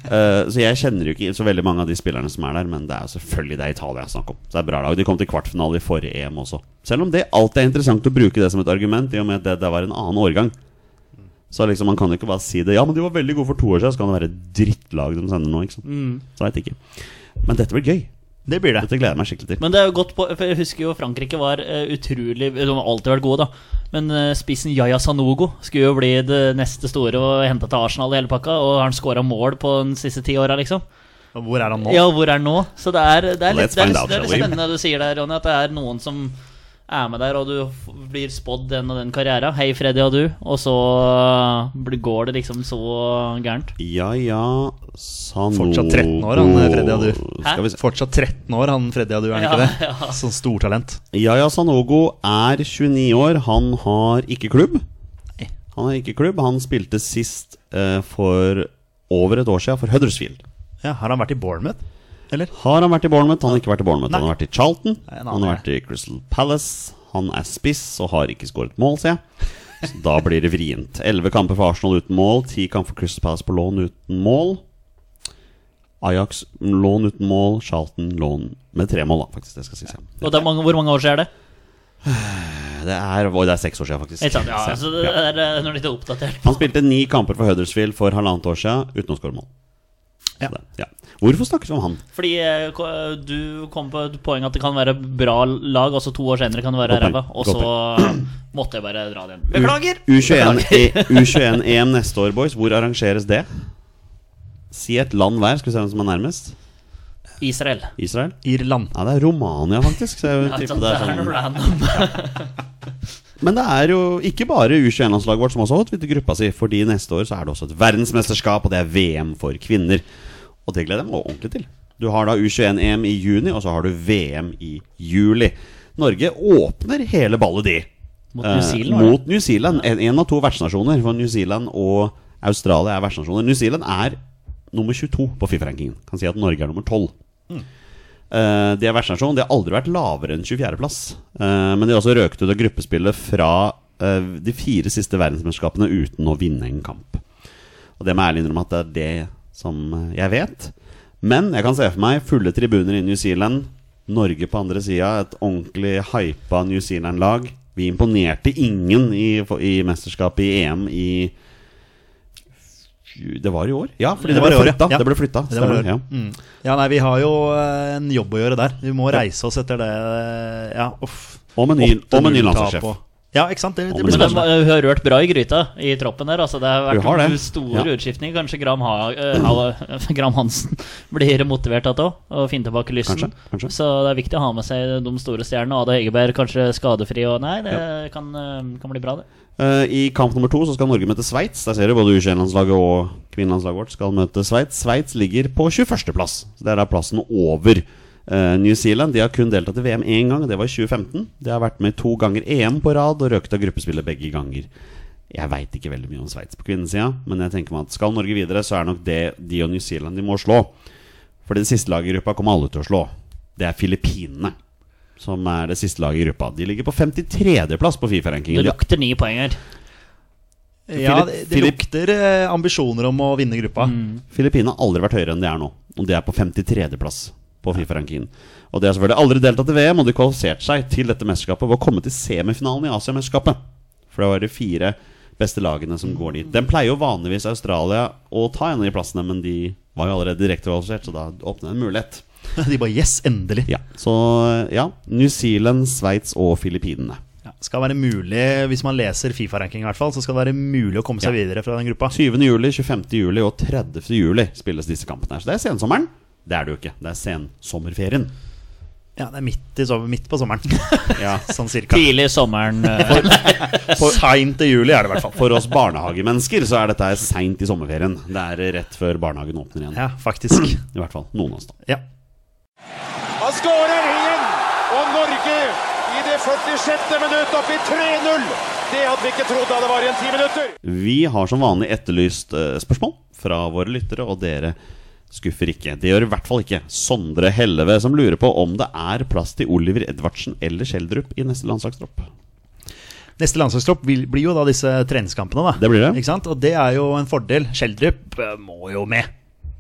Speaker 1: Eh, så jeg kjenner jo ikke så veldig mange av de spillerne som er der, men det er jo selvfølgelig det er Italia jeg snakker om. Så det er bra lag. De kom til kvartfinale i forrige EM også. Selv om det alltid er interessant å bruke det som et argument, i og med at det, det var en annen årgang. Så liksom man kan jo ikke bare si det. Ja, men de var veldig gode for to år siden, så kan det være et drittlag de sender nå, ikke sant.
Speaker 3: Mm.
Speaker 1: Så jeg vet ikke. Men dette blir gøy.
Speaker 3: Det blir det.
Speaker 1: Dette gleder jeg meg skikkelig til.
Speaker 2: Men det er jo godt på for Jeg husker jo Frankrike var eh, utrolig De har alltid vært gode, da. Men eh, spissen Yaya Sanogo skulle jo bli det neste store og henta til Arsenal i hele pakka. Og har han scora mål på den siste ti åra, liksom?
Speaker 3: Og Hvor er han nå?
Speaker 2: Ja, hvor er han nå? Så det er, det er litt,
Speaker 1: Let's
Speaker 2: det er,
Speaker 1: find
Speaker 2: litt-
Speaker 1: out,
Speaker 2: det er litt
Speaker 1: shall we?
Speaker 2: spennende det du sier der, Ronny, at det er noen som er med der, og du f- blir spådd den og den karriera. Hei, Freddy og du. Og så blir- går det liksom så gærent.
Speaker 1: Ja ja Sanogo
Speaker 3: Fortsatt 13 år, han, Freddy, og du.
Speaker 1: Skal vi se.
Speaker 3: Fortsatt 13 år, han Freddy Adu, er han ikke
Speaker 2: Ja,
Speaker 3: det? Sånn stortalent.
Speaker 1: Yaya Sanogo er 29 år. Han har ikke klubb. Han har ikke klubb. Han spilte sist eh, for over et år siden for Huddersfield.
Speaker 3: Ja, har han vært i Bournemouth? Eller?
Speaker 1: Har han vært i Bournemouth? Han har ikke vært i Bournemouth.
Speaker 3: Nei.
Speaker 1: Han har vært i Charlton.
Speaker 3: en annen
Speaker 1: Han har vært i Crystal Palace. Han er spiss og har ikke skåret mål, ser jeg. Så da blir det vrient. Elleve kamper for Arsenal uten mål. Ti kamper for Crystal Palace på lån uten mål. Ajax lån uten mål. Charlton lån med tre mål, da, faktisk. Det skal sies. ja.
Speaker 2: Og det er mange, hvor mange år siden er det?
Speaker 1: Det er, oi, det er seks år siden, faktisk.
Speaker 2: Ikke sant? Ja,
Speaker 1: Så-
Speaker 2: altså, det er eh, når de ikke er oppdatert.
Speaker 1: Han spilte ni kamper for Huddersfield for halvannet år siden uten å skåre mål. Så
Speaker 3: Ja.
Speaker 1: det- Ja. Hvorfor snakker vi om han?
Speaker 2: Fordi eh, ko- du kom på et poeng at det kan være bra lag, og så to år senere kan det være
Speaker 1: Godt poeng.
Speaker 2: ræva. Og
Speaker 1: Godt
Speaker 2: så måtte jeg bare dra den. Beklager!
Speaker 1: U21 U21-EM neste år, boys. Hvor arrangeres det? Si et land hver, skal vi se hvem som er nærmest.
Speaker 2: Israel.
Speaker 1: Israel?
Speaker 3: Irland.
Speaker 1: Nei, det er Romania, faktisk. Så jeg
Speaker 2: Ja,
Speaker 1: tipper
Speaker 2: sånn,
Speaker 1: det
Speaker 2: det
Speaker 1: er
Speaker 2: er noe
Speaker 1: sånn.
Speaker 2: random.
Speaker 1: Men det er jo ikke bare U21-landslaget vårt som også har holdt vidt i gruppa si. Fordi neste år så er det også et verdensmesterskap, og det er VM for kvinner. Og det gleder jeg meg ordentlig til. Du har da U21-EM i juni, og så har du VM i juli. Norge åpner hele ballet, de.
Speaker 2: Mot New
Speaker 1: Eh,
Speaker 2: Zealand, var det?
Speaker 1: mot New Zealand. En, en av to vertsnasjoner. For New Zealand og Australia er vertsnasjoner. New Zealand er nummer 22 på Fifa-rankingen. Kan si at Norge er nummer 12. Eh, de er vertsnasjon. De har aldri vært lavere enn 24.-plass. men de har også røket ut av gruppespillet fra eh, de fire siste verdensmesterskapene uten å vinne en kamp. Og det må jeg ærlig innrømme at det er det som eh, jeg vet. Men jeg kan se for meg fulle tribuner i New Zealand. Norge på andre sida, et ordentlig hypa New Zealand-lag. Vi imponerte ingen i, i mesterskapet i EM i Det var i år? Ja, fordi det,
Speaker 3: Det var
Speaker 1: ble
Speaker 3: i år,
Speaker 1: flytta.
Speaker 3: ja.
Speaker 1: Det ble flytta.
Speaker 3: Det var
Speaker 1: Stemmer.
Speaker 3: det.
Speaker 1: Ja.
Speaker 3: Mm. Ja, nei, vi har jo eh, en jobb å gjøre der. Vi må reise oss etter det. eh, Ja, uff.
Speaker 1: Og med ny, og med ny
Speaker 3: 8-0 tap
Speaker 1: landslagssjef.
Speaker 3: og- Ja, ikke sant? Det,
Speaker 1: Og altså. med
Speaker 3: det blir
Speaker 2: Men
Speaker 1: ny
Speaker 2: de
Speaker 3: spennende.
Speaker 2: har- hun har rørt bra i gryta i troppen der. Altså, det har
Speaker 1: Hun
Speaker 2: vært
Speaker 1: har det.
Speaker 2: store
Speaker 1: Ja.
Speaker 2: utskiftninger. Kanskje Gram, ha eh, ha- Gram Hansen blir motivert av det òg, og finner tilbake lysten.
Speaker 1: Kanskje, kanskje.
Speaker 2: Så det er viktig å ha med seg de store stjernene. Ada Hegerberg kanskje skadefri. Og nei, det kan, eh, kan bli bra, det.
Speaker 1: Eh, I kamp nummer to så skal Norge møte Sveits. Der ser du både U21-landslaget og kvinnelandslaget vårt skal møte Sveits. Sveits ligger på 21.-plass. Så Det er da plassen over eh, New Zealand. De har kun deltatt i VM én gang, det var i 2015. De har vært med to ganger EM på rad og røket av gruppespillet begge ganger. Jeg veit ikke veldig mye om Sveits på kvinnesida, men jeg tenker meg at skal Norge videre, så er nok det de og New Zealand de må slå. Fordi det siste laget i gruppa kommer alle til å slå. Det er Filippinene. Som er det siste laget i gruppa. De ligger på 53.-plass på Fifa-rankingen.
Speaker 2: Det
Speaker 1: De
Speaker 2: lukter ni poeng her.
Speaker 3: Ja, det, det
Speaker 1: Filip-
Speaker 3: lukter eh, ambisjoner om å vinne gruppa.
Speaker 1: Mm. Filippinene har aldri vært høyere enn de er nå. Og de er på 53.-plass på Fifa-rankingen. Og de har selvfølgelig aldri deltatt i VM, og de kvalifiserte seg til dette mesterskapet ved å komme til semifinalen i Asiamesterskapet. For det var de fire beste lagene som går dit. Den pleier jo vanligvis Australia å ta en av de plassene, men de var jo allerede direktekvalifisert, så da åpnet en mulighet.
Speaker 3: De bare Yes, endelig!
Speaker 1: Ja, Så ja, New Zealand, Sveits og Filippinene.
Speaker 3: Ja, skal være mulig, Hvis man leser Fifa-ranking, i hvert fall, så skal det være mulig å komme seg videre fra den gruppa.
Speaker 1: 20. juli, 25. juli og 30. juli spilles disse kampene her. Så det er sensommeren. Det er det jo ikke. Det er sensommerferien.
Speaker 3: Ja, Det er midt, i sommer, midt på sommeren.
Speaker 1: Ja.
Speaker 3: sånn cirka.
Speaker 2: Tidlig i sommeren. eh,
Speaker 3: Seint i juli er det i hvert fall.
Speaker 1: For oss barnehagemennesker så er dette her seint i sommerferien. Det er rett før barnehagen åpner igjen.
Speaker 3: Ja, faktisk.
Speaker 1: I hvert fall noen av oss, da.
Speaker 3: Ja.
Speaker 4: Han skårer igjen! Og Norge i det 46. minutt opp i 3-0! Det hadde vi ikke trodd da det var igjen ti minutter.
Speaker 1: Vi har som vanlig etterlyst eh, spørsmål fra våre lyttere, og dere skuffer ikke. Det gjør i hvert fall ikke Sondre Helleve, som lurer på om det er plass til Oliver Edvardsen eller Schjelderup i neste landslagstropp.
Speaker 3: Neste landslagstropp vil- blir jo da disse treningskampene. da
Speaker 1: Det blir det.
Speaker 3: Ikke sant? Og det er jo en fordel. Schjelderup eh, må jo med.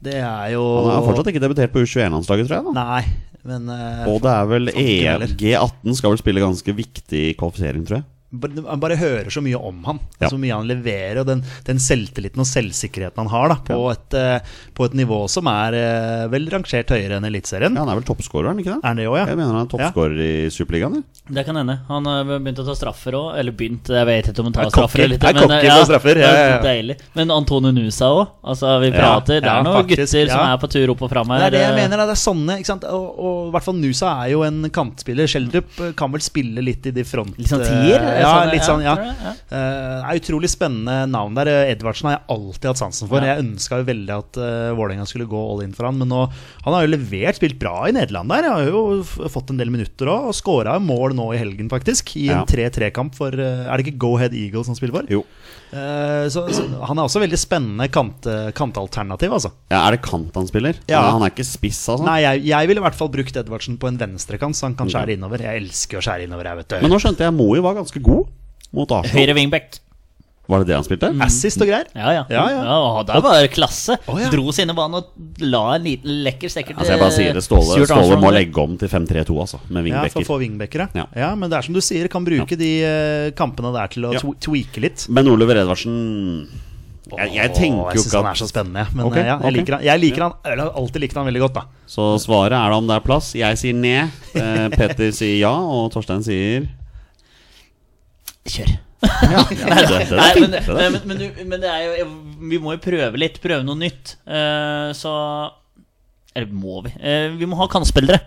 Speaker 3: Det er jo
Speaker 1: Han er fortsatt ikke debutert på U21-landslaget, tror jeg. da
Speaker 3: Nei, men eh,
Speaker 1: Og det er vel
Speaker 3: ikke
Speaker 1: EM
Speaker 3: heller.
Speaker 1: G18 skal vel spille ganske viktig kvalifisering, tror jeg.
Speaker 3: bare- Man bare hører så mye om han,
Speaker 1: Ja.
Speaker 3: så mye han leverer, og den, den selvtilliten og selvsikkerheten han har da, på, et, eh, på et nivå som er eh, vel rangert høyere enn Eliteserien.
Speaker 1: Ja, Han er vel toppskårer, er han ikke det?
Speaker 3: Er han det òg, Mm. ja?
Speaker 1: Jeg mener han er toppskårer i Superligaen. ja.
Speaker 2: Det kan hende. Han har begynt å ta straffer òg. Eller begynt, jeg vet ikke om han tar
Speaker 3: Det er
Speaker 2: straffer.
Speaker 3: cocky.
Speaker 2: eller ikke,
Speaker 3: Det er
Speaker 2: men,
Speaker 3: cocky på straffer, ja, ja, ja.
Speaker 2: det er Deilig. Men Antonio Nusa òg. Altså, vi
Speaker 3: Ja,
Speaker 2: prater. det
Speaker 3: ja,
Speaker 2: er noen
Speaker 3: faktisk,
Speaker 2: gutter som
Speaker 3: ja.
Speaker 2: er på tur opp og fram her. Eh,
Speaker 3: Det er det jeg mener. da. Det er sånne, ikke sant? Og, og i hvert fall Nusa er jo en kantspiller. Schjelderup eh, kan vel spille litt i de front...
Speaker 2: Litt sånn tier?
Speaker 3: eh, Ja,
Speaker 2: Sånn,
Speaker 3: litt sånn, ja.
Speaker 2: tror jeg, ja.
Speaker 3: Eh, det er utrolig spennende navn der. Eh, Edvardsen har jeg alltid hatt sansen for.
Speaker 2: Ja.
Speaker 3: Jeg ønska jo veldig at uh, Vålerenga skulle gå all in for han, men nå Han har jo levert, spilt bra i Nederland der. Han har jo f- fått en del minutter òg, og skåra mål nå i helgen, faktisk. I
Speaker 1: Ja.
Speaker 3: en 3-3-kamp for eh, Er det ikke Go Ahead Eagles han spiller for?
Speaker 1: Jo.
Speaker 3: Eh, så, så han er også veldig spennende kant, eh, kantalternativ, altså.
Speaker 1: Ja, Er det kant han spiller?
Speaker 3: Ja.
Speaker 1: Nei, Han er ikke spiss, altså?
Speaker 3: Nei, jeg, jeg ville i hvert fall brukt Edvardsen på en venstrekant, så han kan
Speaker 1: Ja.
Speaker 3: skjære innover. Jeg elsker å skjære innover, jeg, vet du.
Speaker 1: Mm. Men nå skjønte jeg Moi var ganske god mot Arsenal.
Speaker 2: Høyre wingback.
Speaker 1: Var det det han spilte? Altså,
Speaker 3: Assist og greier.
Speaker 2: Ja, ja.
Speaker 3: Ja, ja.
Speaker 2: og der var det klasse.
Speaker 3: Å, ja.
Speaker 2: Dro sine baner og la en liten lekker stekker til
Speaker 1: Altså Jeg bare sier det. Ståle,
Speaker 2: Stuart
Speaker 1: Ståle
Speaker 2: Armstrong
Speaker 1: må
Speaker 2: der.
Speaker 1: legge om til 5-3-2, altså. Med
Speaker 3: Ja, for
Speaker 1: vingbekker.
Speaker 3: å få wingbacker, ja.
Speaker 1: Ja.
Speaker 3: ja. Men det er som du sier, kan bruke de eh, kampene der til å
Speaker 1: Ja.
Speaker 3: tw tweake litt.
Speaker 1: Men Oliver Edvardsen Jeg, jeg tenker
Speaker 3: Åh,
Speaker 1: jo
Speaker 3: synes
Speaker 1: ikke
Speaker 3: han er
Speaker 1: at
Speaker 3: så spennende, men
Speaker 1: Ok,
Speaker 3: eh, ja, jeg
Speaker 1: ok.
Speaker 3: liker han. Jeg liker han, eller har alltid likt han veldig godt, da.
Speaker 1: Så svaret er da om det er plass. Jeg sier ne. Eh, Peter sier ja, og Torstein sier
Speaker 2: Kjør.
Speaker 1: ja. Det, det, det,
Speaker 2: Nei,
Speaker 1: er fint,
Speaker 2: men,
Speaker 1: det,
Speaker 2: men,
Speaker 1: er fint.
Speaker 2: men, du- men det er jo Vi må jo prøve litt. Prøve noe nytt. Eh, så Eller må vi? Eh, vi må ha kantspillere.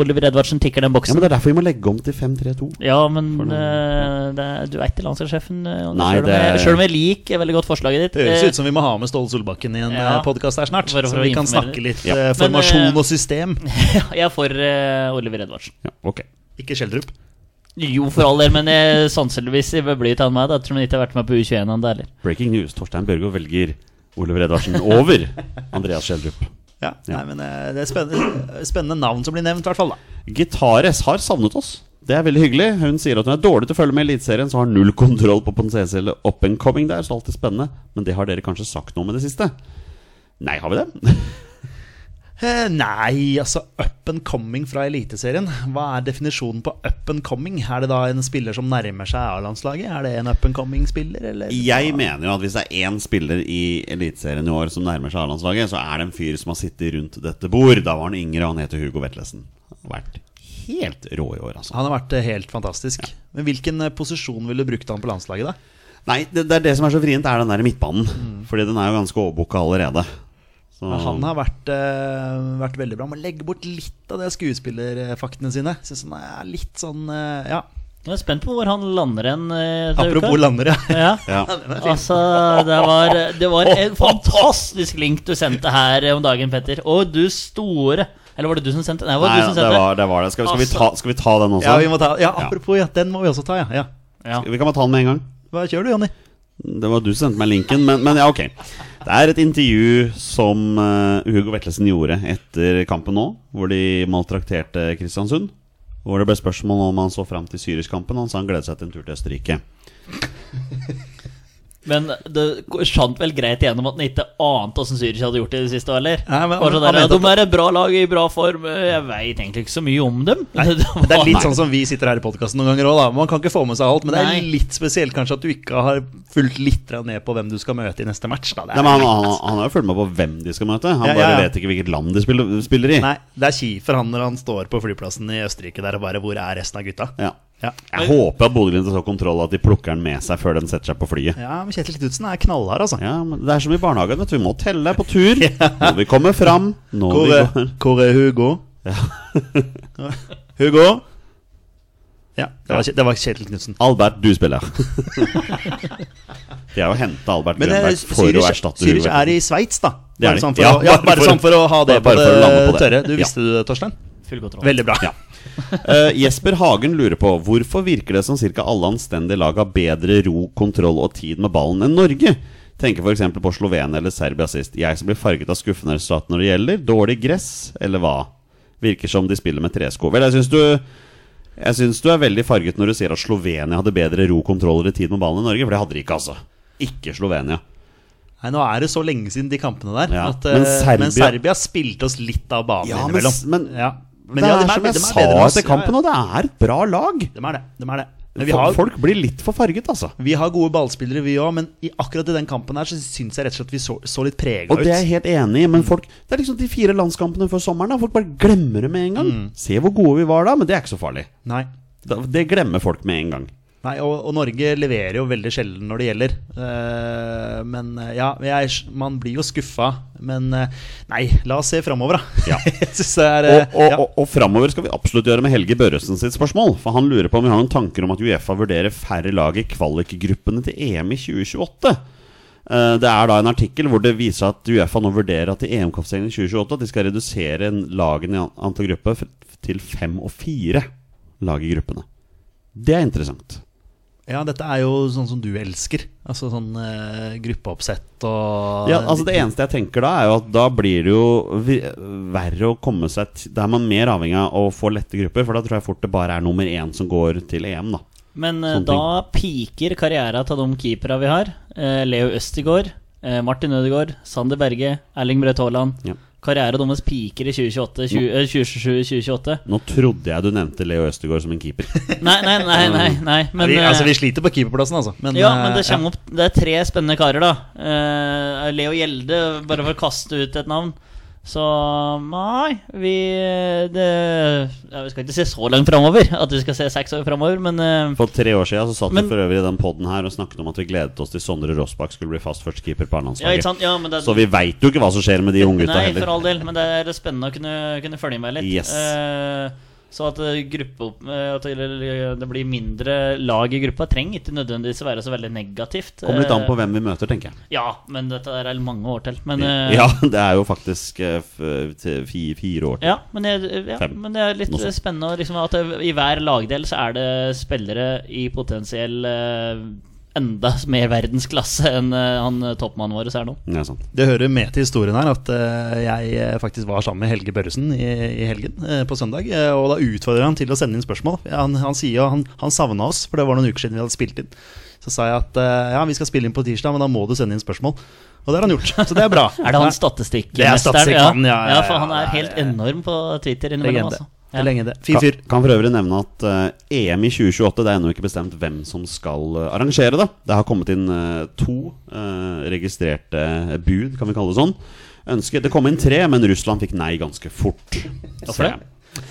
Speaker 2: Oliver Edvardsen tikker den
Speaker 1: Ja,
Speaker 2: boksen.
Speaker 1: men Det er derfor vi må legge om til 5-3-2.
Speaker 2: Ja, men
Speaker 1: For noen-
Speaker 2: eh, det er, du er ikke landslagssjefen. eh,
Speaker 1: Nei,
Speaker 2: selv om jeg-
Speaker 1: det-
Speaker 2: selv om jeg liker veldig godt forslaget ditt.
Speaker 3: Det høres
Speaker 2: Eh,
Speaker 3: ut som vi må ha med Ståle Solbakken i en
Speaker 2: Ja.
Speaker 3: podkast her snart.
Speaker 2: For å- for
Speaker 3: så
Speaker 2: å
Speaker 3: vi kan
Speaker 2: informere.
Speaker 3: snakke litt
Speaker 1: Ja.
Speaker 3: eh,
Speaker 2: Men,
Speaker 3: formasjon
Speaker 2: eh,
Speaker 3: og system.
Speaker 2: jeg er for eh, Oliver Edvardsen.
Speaker 1: Ja, ok
Speaker 3: Ikke Skjeldrup.
Speaker 2: Jo, for all del, men jeg, sannsynligvis blir han meg. Da tror jeg ikke jeg har vært med på U21 ennå heller.
Speaker 1: Breaking news. Torstein Børgo velger Oliver Edvardsen over Andreas Schjelderup.
Speaker 3: Ja,
Speaker 1: Ja.
Speaker 3: Nei, men eh, det er spennende, spennende navn som blir nevnt, i hvert fall. da
Speaker 1: Gitares har savnet oss. Det er veldig hyggelig. Hun sier at hun er dårlig til å følge med i Eliteserien, så har null kontroll på potensielle up and coming der, så alt er spennende. Men det har dere kanskje sagt noe med det siste? Nei, har vi det?
Speaker 3: Eh, Nei, altså up and coming fra Eliteserien. Hva er definisjonen på up and coming? Er det da en spiller som nærmer seg A-landslaget? Er det en up and coming-spiller, eller?
Speaker 1: Jeg mener jo at hvis det er én spiller i Eliteserien i år som nærmer seg A-landslaget, så er det en fyr som har sittet rundt dette bord. Da var han yngre, og han heter Hugo Vetlesen. Han har Vært helt rå i år, altså.
Speaker 3: Han har vært eh, helt fantastisk. Men hvilken eh, posisjon ville du brukt han på landslaget, da?
Speaker 1: Nei, det, det er det som er så vrient, er den der midtbanen. Fordi den er jo ganske overbooka allerede. Så,
Speaker 3: Mm. Men Han har vært, eh, vært veldig bra. Må legge bort litt av de skuespillerfaktene sine. Synes han er litt sånn eh, Ja.
Speaker 2: Jeg er spent på hvor han lander hen. eh, til
Speaker 3: Apropos
Speaker 2: uka.
Speaker 3: landere.
Speaker 2: Ja.
Speaker 1: ja.
Speaker 2: Altså, det var, det var en fantastisk link du sendte her eh, om dagen, Petter. Og du store Eller var det du som sendte? Nei, det var
Speaker 1: Nei,
Speaker 2: du som
Speaker 1: det
Speaker 2: sendte.
Speaker 1: var det. Var det. Skal, vi- skal, vi ta, skal vi ta den også?
Speaker 3: Ja, vi må ta, ja, apropos, ja, den må vi også ta, ja. ja.
Speaker 2: Ja.
Speaker 1: Vi kan bare ta den med en gang.
Speaker 3: Hva kjører du, Jonny?
Speaker 1: Det var du som sendte meg linken, men, men ja, ok. Det er et intervju som eh, Hugo Vetlesen gjorde etter kampen nå, hvor de maltrakterte Kristiansund. Hvor det ble spørsmål om han så fram til Syrisk-kampen. og Han sa han gledet seg til en tur til Østerrike.
Speaker 2: Men det skjant vel greit igjennom at han ikke ante åssen Zürich hadde gjort det i det siste, eller?
Speaker 3: Nei, men han-
Speaker 2: Bare sånn
Speaker 3: han
Speaker 2: der, ja,
Speaker 3: mente
Speaker 2: de er et bra lag i bra form, jeg veit egentlig ikke så mye om dem. det,
Speaker 3: Det er litt
Speaker 2: var-
Speaker 3: sånn som vi sitter her i podkasten noen ganger òg, da. Man kan ikke få med seg alt, men det
Speaker 2: Nei.
Speaker 3: er litt spesielt kanskje at du ikke har fulgt litt grann ned på hvem du skal møte i neste match. Da. Det
Speaker 1: Nei, altså. men
Speaker 3: er,
Speaker 1: han, han, han har jo fulgt med på hvem de skal møte. Han
Speaker 3: Ja,
Speaker 1: bare
Speaker 3: ja, ja.
Speaker 1: vet ikke hvilket land de spiller, spiller i.
Speaker 3: nei, det er kjipt for han når han står på flyplassen i Østerrike der og bare Hvor er resten av gutta?
Speaker 1: Ja.
Speaker 3: Ja,
Speaker 1: Jeg håper at Bodø-Glimt har så kontroll at de plukker den med seg før den setter seg på flyet.
Speaker 3: ja men Kjetil Knutsen er knallhard, altså.
Speaker 1: Ja, men Det er som i barnehagen, vet du. Vi må telle på tur. Når vi kommer fram, når
Speaker 3: Hvor,
Speaker 1: vi
Speaker 3: er-
Speaker 1: går
Speaker 3: hvor er Hugo? Hugo? Ja, det var, Kje- det var Kjetil Knutsen.
Speaker 1: Albert, du spiller. De har jo henta Albert
Speaker 3: Men eh,
Speaker 1: Grønberg for
Speaker 3: Zürich
Speaker 1: å erstatte
Speaker 3: Zürich
Speaker 1: Hugo.
Speaker 3: er i Sveits, da.
Speaker 1: Det er
Speaker 3: Bare
Speaker 1: de.
Speaker 3: sånn for,
Speaker 1: Ja,
Speaker 3: å, ja,
Speaker 1: bare
Speaker 3: bare
Speaker 1: for-
Speaker 3: sånn for å ha det på
Speaker 1: bare for å lande
Speaker 3: det
Speaker 1: på
Speaker 3: tørre.
Speaker 1: det.
Speaker 3: Du
Speaker 1: Ja.
Speaker 3: visste det, Torstein?
Speaker 2: Full kontroll.
Speaker 3: Veldig bra.
Speaker 1: Ja. Eh, Jesper Hagen lurer på hvorfor virker det som ca. alle anstendige lag har bedre ro, kontroll og tid med ballen enn Norge? Tenker f.eks. på Slovenia eller Serbia sist. Jeg som blir farget av skuffende resultat når det gjelder. Dårlig gress, eller hva? Virker som de spiller med tresko. Vel, jeg syns du jeg synes du er veldig farget når du sier at Slovenia hadde bedre ro, kontroll eller tid med ballen enn Norge. For det hadde de ikke, altså. Ikke Slovenia.
Speaker 3: Nei, Nå er det så lenge siden de kampene der.
Speaker 1: Ja,
Speaker 3: At,
Speaker 1: men
Speaker 3: men, Serbia, men
Speaker 1: Serbia-
Speaker 3: Serbia spilte oss litt av banen
Speaker 1: Ja, men,
Speaker 3: innimellom.
Speaker 1: men,
Speaker 3: ja.
Speaker 1: det
Speaker 3: ja,
Speaker 1: er,
Speaker 3: de
Speaker 1: som jeg
Speaker 3: de
Speaker 1: sa
Speaker 3: bedre enn oss.
Speaker 1: etter kampen, og det er et bra lag.
Speaker 3: Ja, ja. De er det. De er det. Men vi
Speaker 1: Folk-
Speaker 3: har,
Speaker 1: Folk blir litt for farget, altså.
Speaker 3: vi har gode ballspillere, vi òg, men i akkurat i den kampen her så syns jeg rett og slett vi så, så litt prega
Speaker 1: Og
Speaker 3: ut.
Speaker 1: det er jeg helt enig i, men folk Det er liksom de fire landskampene før sommeren. Da. Folk bare glemmer det med en gang.
Speaker 3: Mm.
Speaker 1: Se hvor gode vi var da, men det er ikke så farlig.
Speaker 3: Nei.
Speaker 1: Da- Det glemmer folk med en gang.
Speaker 3: Nei, og, og Norge leverer jo veldig sjelden når det gjelder. Eh, men eh, ja, jeg, man blir jo skuffa. Men eh, nei, la oss se framover, da.
Speaker 1: Ja.
Speaker 3: jeg synes det er
Speaker 1: Og,
Speaker 3: eh,
Speaker 1: og,
Speaker 3: ja.
Speaker 1: og, og framover skal vi absolutt gjøre med Helge Børresen sitt spørsmål. For han lurer på om vi har noen tanker om at Uefa vurderer færre lag i kvalikgruppene til EM i 2028. Eh, Det er da en artikkel hvor det viser at Uefa nå vurderer at i EM-kvalifiseringen i 2028 at de skal redusere lagene i an- antall grupper f- til fem og fire lag i gruppene. Det er interessant.
Speaker 3: Ja, dette er jo sånn som du elsker. Altså sånn eh, gruppeoppsett og
Speaker 1: Ja, altså Det eneste jeg tenker da, er jo at da blir det jo vi- verre å komme seg til Da er man mer avhengig av å få lette grupper, for da tror jeg fort det bare er nummer én som går til EM, da.
Speaker 2: Men eh,
Speaker 1: Sånne ting.
Speaker 2: da piker karriera til de keepera vi har. Eh, Leo Østigård, eh, Martin Ødegaard, Sander Berge, Erling Braut Haaland.
Speaker 1: Ja.
Speaker 2: Karriera deres piker i 2028, 20, eh, 2027-2028.
Speaker 1: Nå trodde jeg du nevnte Leo Østegård som en keeper.
Speaker 2: Nei, nei, nei. nei, nei. Men,
Speaker 3: vi, altså,
Speaker 2: eh,
Speaker 3: vi sliter på keeperplassen, altså. Men,
Speaker 2: ja,
Speaker 3: eh,
Speaker 2: men det,
Speaker 3: ja.
Speaker 2: kommer opp, det er tre spennende karer, da. Eh, Leo Gjelde, bare for å kaste ut et navn. Så nei, vi, det, ja, vi skal ikke se så langt framover at vi skal se seks år framover, men eh,
Speaker 1: For tre år siden så satt
Speaker 2: Men-
Speaker 1: vi for øvrig i den podden her og snakket om at vi gledet oss til Sondre Rossbakk skulle bli fast førstekeeper på
Speaker 2: ja, ikke
Speaker 1: A-landslaget.
Speaker 2: sant? Ja, men det,
Speaker 1: så vi veit jo ikke hva som skjer med de unggutta
Speaker 2: Nei,
Speaker 1: heller.
Speaker 2: for all del, men det er spennende å kunne, kunne følge med litt.
Speaker 1: Yes.
Speaker 2: Eh, så at, eh, gruppe, opp- eh, at det det blir mindre lag i gruppa, trenger ikke nødvendigvis være så veldig negativt.
Speaker 1: Kommer litt an på
Speaker 2: Eh,
Speaker 1: hvem vi møter, tenker jeg.
Speaker 2: Ja, men dette er mange år til. Men, eh,
Speaker 1: Ja, det er jo faktisk eh, f- til fi, fire år til.
Speaker 2: Ja, men, jeg, ja,
Speaker 1: Fem.
Speaker 2: men det er litt
Speaker 1: Noe sånt.
Speaker 2: spennende å liksom, at det, i hver lagdel så er det spillere i potensiell eh, enda mer verdensklasse enn eh, han eh, toppmannen vår er nå.
Speaker 1: Ja, sant.
Speaker 3: Det hører med til historien her at eh, jeg eh, faktisk var sammen med Helge Børresen i, i helgen eh, på søndag. eh, og da utfordrer han til å sende inn spørsmål. Han, han sier jo han, han savna oss, for det var noen uker siden vi hadde spilt inn. Så sa jeg at eh, ja, vi skal spille inn på tirsdag, men da må du sende inn spørsmål. Og det har han gjort, så det er bra.
Speaker 2: Er det han statistikkmesteren?
Speaker 3: Det er statistikkmannen, ja, ja,
Speaker 2: ja. For
Speaker 3: ja,
Speaker 2: han
Speaker 3: ja,
Speaker 2: er
Speaker 3: ja,
Speaker 2: helt
Speaker 3: ja.
Speaker 2: enorm på Twitter innimellom,
Speaker 3: Legende.
Speaker 2: altså.
Speaker 3: Det er Lenge det. Fin
Speaker 1: Kan,
Speaker 3: fyr.
Speaker 1: kan for øvrig nevne at eh, EM i 2028 Det er ennå ikke bestemt hvem som skal eh, arrangere det. Det har kommet inn eh, to eh, registrerte bud, kan vi kalle det sånn. Ønske. Det kom inn tre, men Russland fikk nei ganske fort.
Speaker 2: Hvorfor det?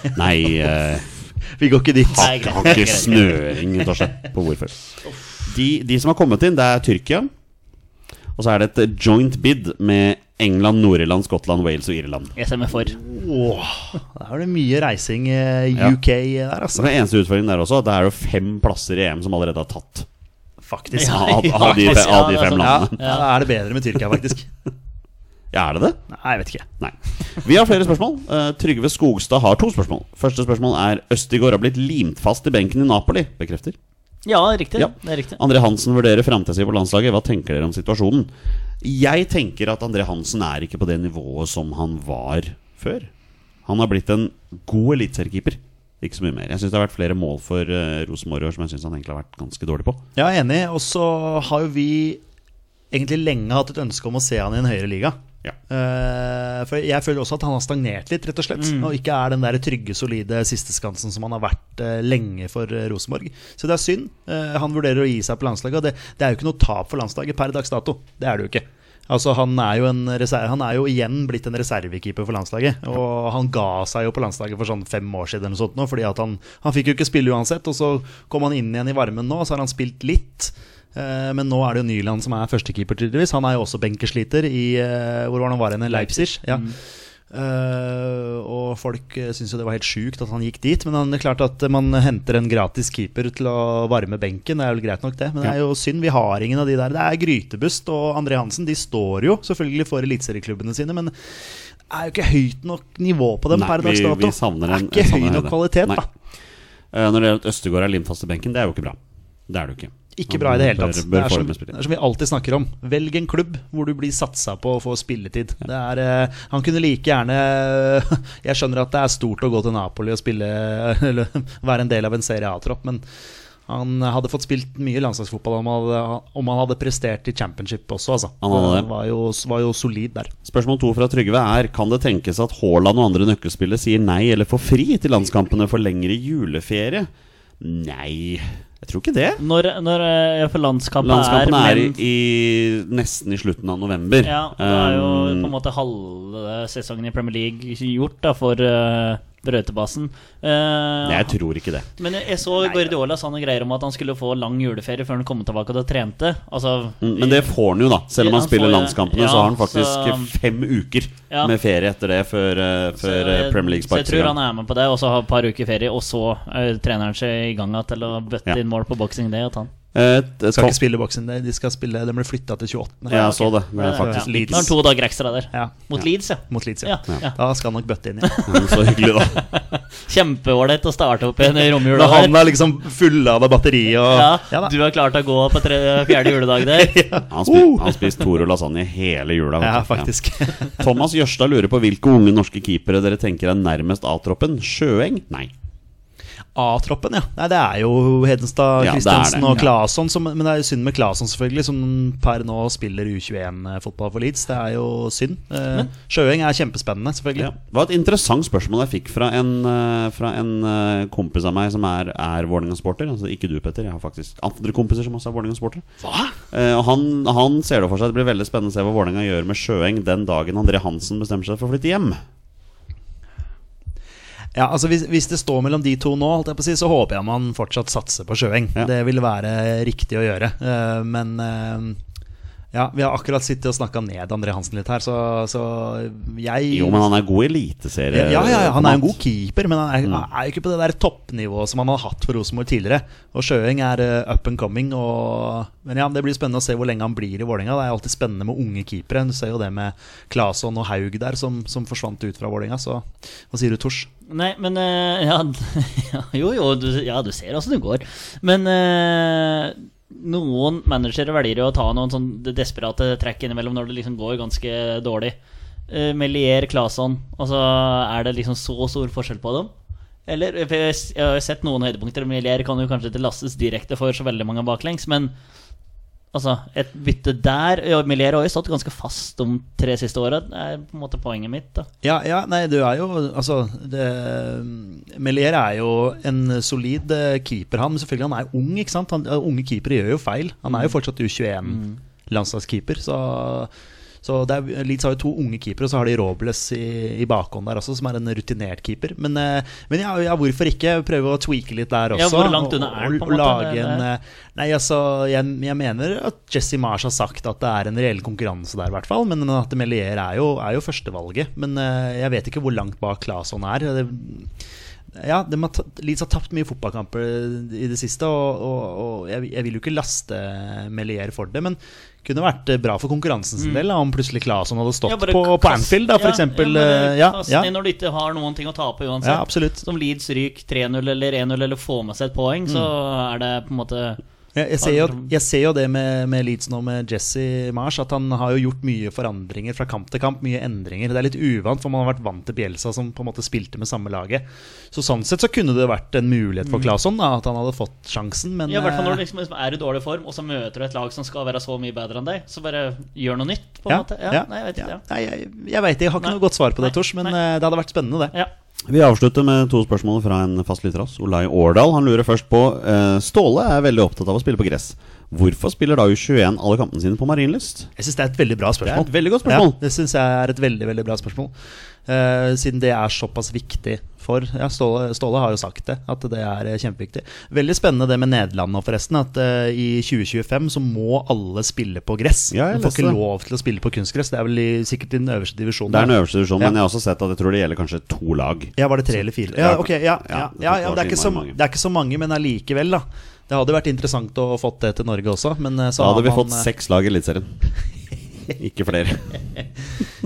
Speaker 1: Så- Nei eh,
Speaker 3: Vi går ikke dit.
Speaker 2: Nei, greit,
Speaker 1: Har ikke
Speaker 2: greit.
Speaker 1: snøring Torstein, på hvorfor. De, de som har kommet inn, det er Tyrkia. Og så er det et joint bid med England, Nord-Irland, Skottland, Wales og Irland.
Speaker 2: Jeg stemmer for.
Speaker 3: Åh, da er det mye reising eh, UK der,
Speaker 1: Så
Speaker 3: altså.
Speaker 1: den eneste utfordringen der også, det er jo fem plasser i EM som allerede er tatt.
Speaker 3: Faktisk.
Speaker 2: Ja,
Speaker 1: Av, av, de, fe- av de
Speaker 2: Ja, det er
Speaker 1: fem
Speaker 2: sånn.
Speaker 3: Ja,
Speaker 1: landene.
Speaker 3: da er det bedre med Tyrkia, faktisk.
Speaker 1: Ja, er det det?
Speaker 3: Nei, jeg vet ikke.
Speaker 1: Nei. Vi har flere spørsmål. Eh, Trygve Skogstad har to spørsmål. Første spørsmål er Østigård har blitt limt fast i benken i Napoli. Bekrefter.
Speaker 2: Ja, riktig.
Speaker 1: Ja.
Speaker 2: Det er riktig.
Speaker 1: André Hansen vurderer framtida si på landslaget. Hva tenker dere om situasjonen? Jeg tenker at André Hansen er ikke på det nivået som han var før. Han har blitt en god eliteseriekeeper. Ikke så mye mer. Jeg syns det har vært flere mål for uh, Rosenborg i år som jeg syns han egentlig har vært ganske dårlig på.
Speaker 3: Ja, jeg er enig. Og så har jo vi egentlig lenge hatt et ønske om å se han i en høyere liga.
Speaker 1: Ja.
Speaker 3: Eh, for jeg føler også at han har stagnert litt, rett og slett. Og ikke er den der trygge, solide sisteskansen som han har vært eh, lenge for eh, Rosenborg. Så det er synd. Eh, han vurderer å gi seg på landslaget, og det, det er jo ikke noe tap for landslaget per dags dato. Det er det jo ikke. Altså, han, er jo en reser- han er jo igjen blitt en reservekeeper for landslaget. Og han ga seg jo på landslaget for sånn fem år siden, eller noe sånt nå, fordi at han, han fikk jo ikke spille uansett. Og så kom han inn igjen i varmen nå, og så har han spilt litt. Eh, Men nå er det jo Nyland som er førstekeeper, tydeligvis. Han er jo også benkesliter i eh, Hvor var det han var hen? Leipzig. Ja.
Speaker 1: Mm.
Speaker 3: Eh, og folk eh, syntes jo det var helt sjukt at han gikk dit. Men han, det er klart at eh, man henter en gratis keeper til å varme benken. Det er vel greit nok, det. Men det er jo synd. Vi har ingen av de der. Det er Grytebust og André Hansen. De står jo selvfølgelig for eliteserieklubbene sine, men det er jo ikke høyt nok nivå på dem
Speaker 1: Nei,
Speaker 3: per dags
Speaker 1: vi- vi
Speaker 3: dato.
Speaker 1: savner
Speaker 3: Det er
Speaker 1: en-
Speaker 3: ikke
Speaker 1: savner
Speaker 3: høy
Speaker 1: en
Speaker 3: nok
Speaker 1: høyde.
Speaker 3: kvalitet,
Speaker 1: Nei.
Speaker 3: da.
Speaker 1: Eh, når det gjelder at Østegård er limt fast i benken, det er jo ikke bra. Det er det jo ikke.
Speaker 3: Ikke bra i det hele
Speaker 1: Han Bør,
Speaker 3: tatt. Det
Speaker 1: bør
Speaker 3: er, som,
Speaker 1: forme
Speaker 3: det
Speaker 1: spillet.
Speaker 3: er som vi alltid snakker om. Velg en klubb hvor du blir satsa på og får spilletid. Det er, eh, han kunne like gjerne Jeg skjønner at det er stort å gå til Napoli og spille Eller være en del av en Serie A-tropp, men han hadde fått spilt mye landslagsfotball om han hadde, om han hadde prestert i championship også, altså.
Speaker 1: Han hadde det.
Speaker 3: var, jo, var jo solid der.
Speaker 1: Spørsmål to fra Trygve er Kan det tenkes at Haaland og andre nøkkelspillere sier nei eller får fri til landskampene for lengre juleferie? Nei, jeg tror ikke det.
Speaker 2: Når, når eh, for landskampet,
Speaker 1: Landskampene er,
Speaker 2: er, men,
Speaker 1: i, i nesten i slutten av november.
Speaker 2: Ja, og det er jo
Speaker 1: Um,
Speaker 2: på en måte halve sesongen i Premier League gjort da, for eh, brøytebassen. Eh,
Speaker 1: Nei, jeg tror ikke det.
Speaker 2: Men jeg, jeg så Guardiola sa noen greier om at han skulle få lang juleferie før han kom tilbake og trente. Altså,
Speaker 1: Mm, Men det får han jo, da. Selv om
Speaker 2: Ja,
Speaker 1: han
Speaker 2: han
Speaker 1: spiller
Speaker 2: får-
Speaker 1: landskampene,
Speaker 2: ja,
Speaker 1: så har han faktisk
Speaker 2: så-
Speaker 1: fem uker
Speaker 2: Ja.
Speaker 1: med ferie etter det før, eh,
Speaker 2: så
Speaker 1: før eh,
Speaker 2: jeg-
Speaker 1: Premier League
Speaker 2: Så jeg
Speaker 1: sparkes i
Speaker 2: tror han
Speaker 1: gang.
Speaker 2: er med på det, og så har et par uker ferie, og så eh, trener han seg i gang igjen til å bøtte
Speaker 1: Ja.
Speaker 2: inn mål på boksing day. Og ta han.
Speaker 1: Eh, t- Tom-
Speaker 3: Skal ikke spille boksing, der, de skal spille De ble flytta til 28.
Speaker 1: Ja, jeg så det. Det
Speaker 2: Ja,
Speaker 1: er
Speaker 2: ja.
Speaker 1: faktisk
Speaker 3: Ja.
Speaker 2: Da har han to dager ekstra der.
Speaker 3: Ja,
Speaker 2: Mot Leeds, ja.
Speaker 3: mot Leeds,
Speaker 2: ja,
Speaker 3: ja.
Speaker 2: ja.
Speaker 3: Da skal han nok bøtte inn, ja.
Speaker 1: Mm, Så hyggelig, da.
Speaker 2: Kjempeålreit å starte opp igjen i romjula.
Speaker 3: Da han er liksom fullada batteri og
Speaker 2: Ja,
Speaker 3: Ja da.
Speaker 2: du er klar til å gå på tre, fjerde juledag der.
Speaker 1: Han spi- han spiste Toro lasagne hele jula. vet
Speaker 3: Uh! Ja,
Speaker 1: du.
Speaker 3: faktisk.
Speaker 1: Thomas Jørstad lurer på hvilke unge norske keepere dere tenker er nærmest A-troppen. Sjøeng? Nei.
Speaker 3: A-troppen, ja. Nei, det er jo Hedenstad,
Speaker 1: Ja, det er
Speaker 3: Kristiansen
Speaker 1: det,
Speaker 3: og
Speaker 1: ja.
Speaker 3: Claesson. som- Men det er jo synd med Claesson, selvfølgelig, som per nå spiller U21-fotball for Leeds. Det er jo synd. Eh, Sjøeng er kjempespennende, selvfølgelig.
Speaker 1: Ja. Det var et interessant spørsmål jeg fikk fra en, eh, fra en eh, kompis av meg som er, er Vålerenga-sporter. Altså, ikke du, Petter. Jeg har faktisk andre kompiser som også er Vålerenga-sportere. Eh, og han, han ser det for seg. Det blir veldig spennende å se hva Vålerenga gjør med Sjøeng den dagen André Hansen bestemmer seg for å flytte hjem.
Speaker 3: Ja, altså hvis, hvis det står mellom de to nå, holdt jeg på å si, så håper jeg man fortsatt satser på Sjøeng.
Speaker 1: Ja.
Speaker 3: Det vil være riktig å gjøre. Eh, Men eh, ja, vi har akkurat sittet og snakka ned André Hansen litt her, så, så jeg
Speaker 1: Jo, men han er god i eliteserie.
Speaker 3: ja, ja, ja, han er en god keeper, men han er, han er jo ikke på det der toppnivået som han har hatt for Rosenborg tidligere. Og Sjøeng er eh, up and coming. Og, men ja, Det blir spennende å se hvor lenge han blir i Vålerenga. Det er alltid spennende med unge keepere. Du ser jo det med Claesson og Haug der, som, som forsvant ut fra Vålerenga. Så hva sier du, Tors?
Speaker 2: Nei, men eh, ja, ja, Jo, jo, du, ja, du ser åssen det går. Men eh, noen managere velger jo å ta noen sånn desperate trekk innimellom når det liksom går ganske dårlig. Uh, Melier, Claesson Altså, er det liksom så stor forskjell på dem? Eller for Jeg jeg har jo sett noen høydepunkter. Melier kan jo kanskje ikke lastes direkte for så veldig mange baklengs, men Altså, et bytte der ja, Melier har jo stått ganske fast de tre siste åra, er på en måte poenget mitt. da
Speaker 3: Ja, ja, nei, du er jo Altså, det, Melier er jo en solid eh, keeper, han. Men selvfølgelig, han er ung, ikke sant? Han, ja, unge keepere gjør jo feil. Han er jo fortsatt Mm. U21-landslagskeeper, så så det er, Leeds har jo to unge keepere, og så har de Robles i, i bakhånd der også, som er en rutinert keeper. Men, eh, men ja, ja, hvorfor ikke prøve å tweake litt der også?
Speaker 2: Ja, hvor langt
Speaker 3: og-
Speaker 2: unna er den, på en
Speaker 3: og
Speaker 2: måte,
Speaker 3: lage
Speaker 2: det-
Speaker 3: en, eh, Nei, altså, jeg, jeg mener at Jesse Marsh har sagt at det er en reell konkurranse der, i hvert fall. Men at Melier er jo, er jo førstevalget. Men eh, jeg vet ikke hvor langt bak Claesson er. Det, ja, de har, tatt- Leeds har tapt mye fotballkamper i det siste, og, og, og jeg, jeg vil jo ikke laste Melier for det. Men kunne vært bra for konkurransen sin del da, om plutselig Claesson hadde stått
Speaker 2: Mm. Ja, bare
Speaker 3: på, på
Speaker 2: kast-
Speaker 3: Anfield, da, for
Speaker 2: ja,
Speaker 3: eksempel.
Speaker 2: Ja,
Speaker 3: eh,
Speaker 2: bare
Speaker 3: Ja,
Speaker 2: kast
Speaker 3: ja,
Speaker 2: ned når du ikke har noen ting å tape uansett.
Speaker 3: ja, absolutt.
Speaker 2: Som Leeds ryker 3-0 eller 1-0 eller får med seg et poeng, så
Speaker 3: Mm.
Speaker 2: er det på en måte
Speaker 3: Jeg, jeg, ser jo, jeg ser jo det med, med Leeds nå med Jesse Marsh, at han har jo gjort mye forandringer fra kamp til kamp. Mye endringer. Det er litt uvant, for man har vært vant til Bjelsa, som på en måte spilte med samme laget. Så sånn sett så kunne det vært en mulighet for Claesson, da, at han hadde fått sjansen, men
Speaker 2: Mm. ja, I hvert fall når du
Speaker 3: eh,
Speaker 2: liksom, liksom er i dårlig form, og så møter du et lag som skal være så mye bedre enn deg, så bare gjør noe nytt, på en måte. Ja, Nei, jeg vet
Speaker 3: ja.
Speaker 2: ikke.
Speaker 3: Nei, jeg, jeg vet, jeg har ikke
Speaker 2: Nei.
Speaker 3: noe godt svar på det,
Speaker 2: Nei.
Speaker 3: Tors, men
Speaker 2: Nei.
Speaker 3: eh, det hadde vært spennende, det.
Speaker 2: Ja. ja.
Speaker 1: Vi avslutter med to spørsmål fra en fast lytter av oss, Olai Årdal. Han lurer først på eh, Ståle er veldig opptatt av å spille på gress. Hvorfor spiller da U21 alle kampene sine på Marienlyst?
Speaker 3: Jeg syns det er et veldig bra
Speaker 1: Det
Speaker 3: spørsmål.
Speaker 1: er et veldig godt spørsmål.
Speaker 3: Ja, det synes jeg er et veldig, veldig bra spørsmål. Eh, siden det er såpass viktig for ja, Ståle, Ståle har jo sagt det, at det er eh, kjempeviktig. Veldig spennende det med Nederland nå, forresten. At eh, i 2025 så må alle spille på gress.
Speaker 1: Ja, jeg
Speaker 3: du får
Speaker 1: leste
Speaker 3: ikke
Speaker 1: det.
Speaker 3: lov til å spille på kunstgress. Det er vel i, sikkert i den øverste divisjonen.
Speaker 1: Det er den øverste divisjonen,
Speaker 3: Ja.
Speaker 1: men jeg har også sett at jeg tror det gjelder kanskje to lag.
Speaker 3: Ja, var det tre eller fire? Ja,
Speaker 1: Ja,
Speaker 3: ok, ja,
Speaker 1: ja,
Speaker 3: ja,
Speaker 1: det
Speaker 3: ja, ja
Speaker 1: var
Speaker 3: det, er ikke så,
Speaker 1: mange.
Speaker 3: det er ikke så mange, men allikevel, da. Det hadde vært interessant å fått det til Norge også, men eh, så
Speaker 1: Da
Speaker 3: har
Speaker 1: hadde vi
Speaker 3: man,
Speaker 1: fått
Speaker 3: eh,
Speaker 1: seks lag i Eliteserien. Ikke flere.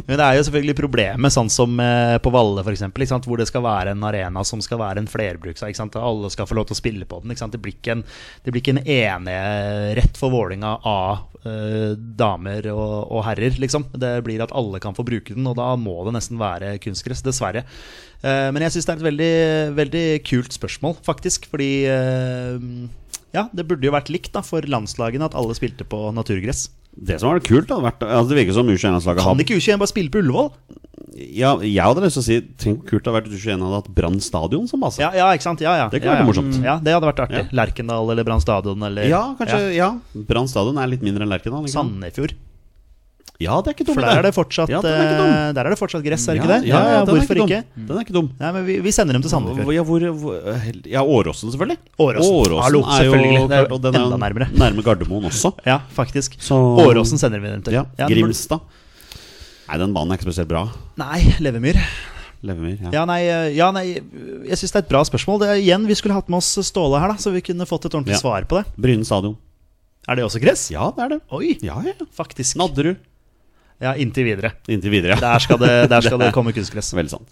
Speaker 3: Men det er jo selvfølgelig problemet, sånn som eh, på Valle f.eks., hvor det skal være en arena som skal være en flerbruk. Ikke sant? Alle skal få lov til å spille på den. Ikke sant? Det, blir ikke en, det blir ikke en enerett for Vålinga av eh, damer og, og herrer, liksom. Det blir at alle kan få bruke den, og da må det nesten være kunstgress, dessverre. Eh, men jeg syns det er et veldig, veldig kult spørsmål, faktisk, fordi eh, ja, det burde jo vært likt da, for landslagene at alle spilte på naturgress.
Speaker 1: Det som var kult, da, vært, altså det virker som U21-landslaget
Speaker 3: Kan
Speaker 1: har
Speaker 3: ikke U21 bare spille på Ullevål?
Speaker 1: ja, Jeg hadde lyst til å si tenk hvor kult det hadde vært hvis U21 hadde hatt Brann stadion som base.
Speaker 3: Ja, ja, ikke sant? Ja, ja.
Speaker 1: Det kunne
Speaker 3: ja,
Speaker 1: vært
Speaker 3: ja.
Speaker 1: morsomt.
Speaker 3: Mm. Ja, det hadde vært artig.
Speaker 1: Ja.
Speaker 3: Lerkendal eller Brann stadion eller
Speaker 1: Ja, kanskje, ja. Brann stadion er litt mindre enn Lerkendal.
Speaker 3: ja.
Speaker 1: ikke sant?
Speaker 3: Sandefjord.
Speaker 1: Ja, det er ikke dumt.
Speaker 3: For der er det fortsatt,
Speaker 1: Ja, den er ikke dum.
Speaker 3: eh, der er det fortsatt gress, er det ikke det?
Speaker 1: Ja, ja, den er
Speaker 3: Hvorfor ikke?
Speaker 1: dum. Den er ikke dum.
Speaker 3: Nei, men vi, vi sender dem til Sandefjord.
Speaker 1: Ja, hvor, hvor, ja, Åråsen, selvfølgelig.
Speaker 3: Åråsen. Hallo, selvfølgelig. Det er
Speaker 1: klart, og den er jo
Speaker 3: enda nærmere.
Speaker 1: Nærme Gardermoen også.
Speaker 3: Ja, faktisk.
Speaker 1: Så-
Speaker 3: Åråsen sender vi dem til.
Speaker 1: Ja,
Speaker 3: Ja, det burde-
Speaker 1: Grimstad. Nei, den banen er ikke spesielt bra.
Speaker 3: Nei, Levemyr.
Speaker 1: Levemyr. Ja.
Speaker 3: Ja, nei, eh, ja, nei jeg syns det er et bra spørsmål. Det, er- igjen, vi skulle hatt med oss Ståle her, da, så vi kunne fått et ordentlig
Speaker 1: Ja.
Speaker 3: svar på det.
Speaker 1: Bryne stadion.
Speaker 3: Er det også gress?
Speaker 1: Ja, det er det.
Speaker 3: Oi,
Speaker 1: Ja, ja.
Speaker 3: faktisk.
Speaker 1: Nadderud.
Speaker 3: Ja, inntil videre.
Speaker 1: Inntil videre, ja.
Speaker 3: Der skal det, der skal det komme kunstgress.
Speaker 1: Veldig sant.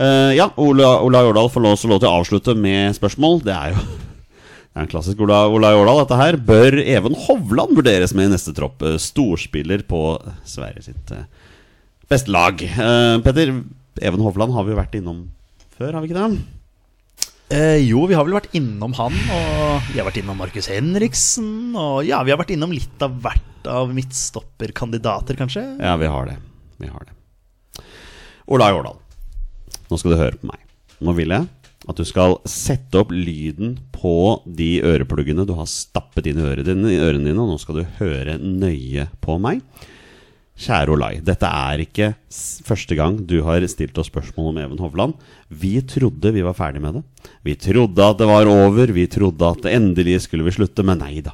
Speaker 1: Eh, ja, Ola, Ola Jordal får lov, så lov til å avslutte med spørsmål. Det er jo det er en klassisk Ola, Ola Jordal, dette her. Bør Even Hovland vurderes med i neste tropp? Eh, Storspiller på Sverige sitt eh, beste lag. Eh, Petter, Even Hovland har vi jo vært innom før, har vi ikke det?
Speaker 3: Eh, jo, vi har vel vært innom han, og vi har vært innom Markus Henriksen. Og ja, vi har vært innom litt av hvert av midtstopperkandidater, kanskje.
Speaker 1: Ja, vi har det. Vi har det. Ola Jårdal, nå skal du høre på meg. Nå vil jeg at du skal sette opp lyden på de ørepluggene du har stappet inn i øret dine- i ørene dine, og nå skal du høre nøye på meg. Kjære Olai, dette er ikke s- første gang du har stilt oss spørsmål om Even Hovland. Vi trodde vi var ferdig med det. Vi trodde at det var over, vi trodde at endelig skulle vi slutte, men nei da.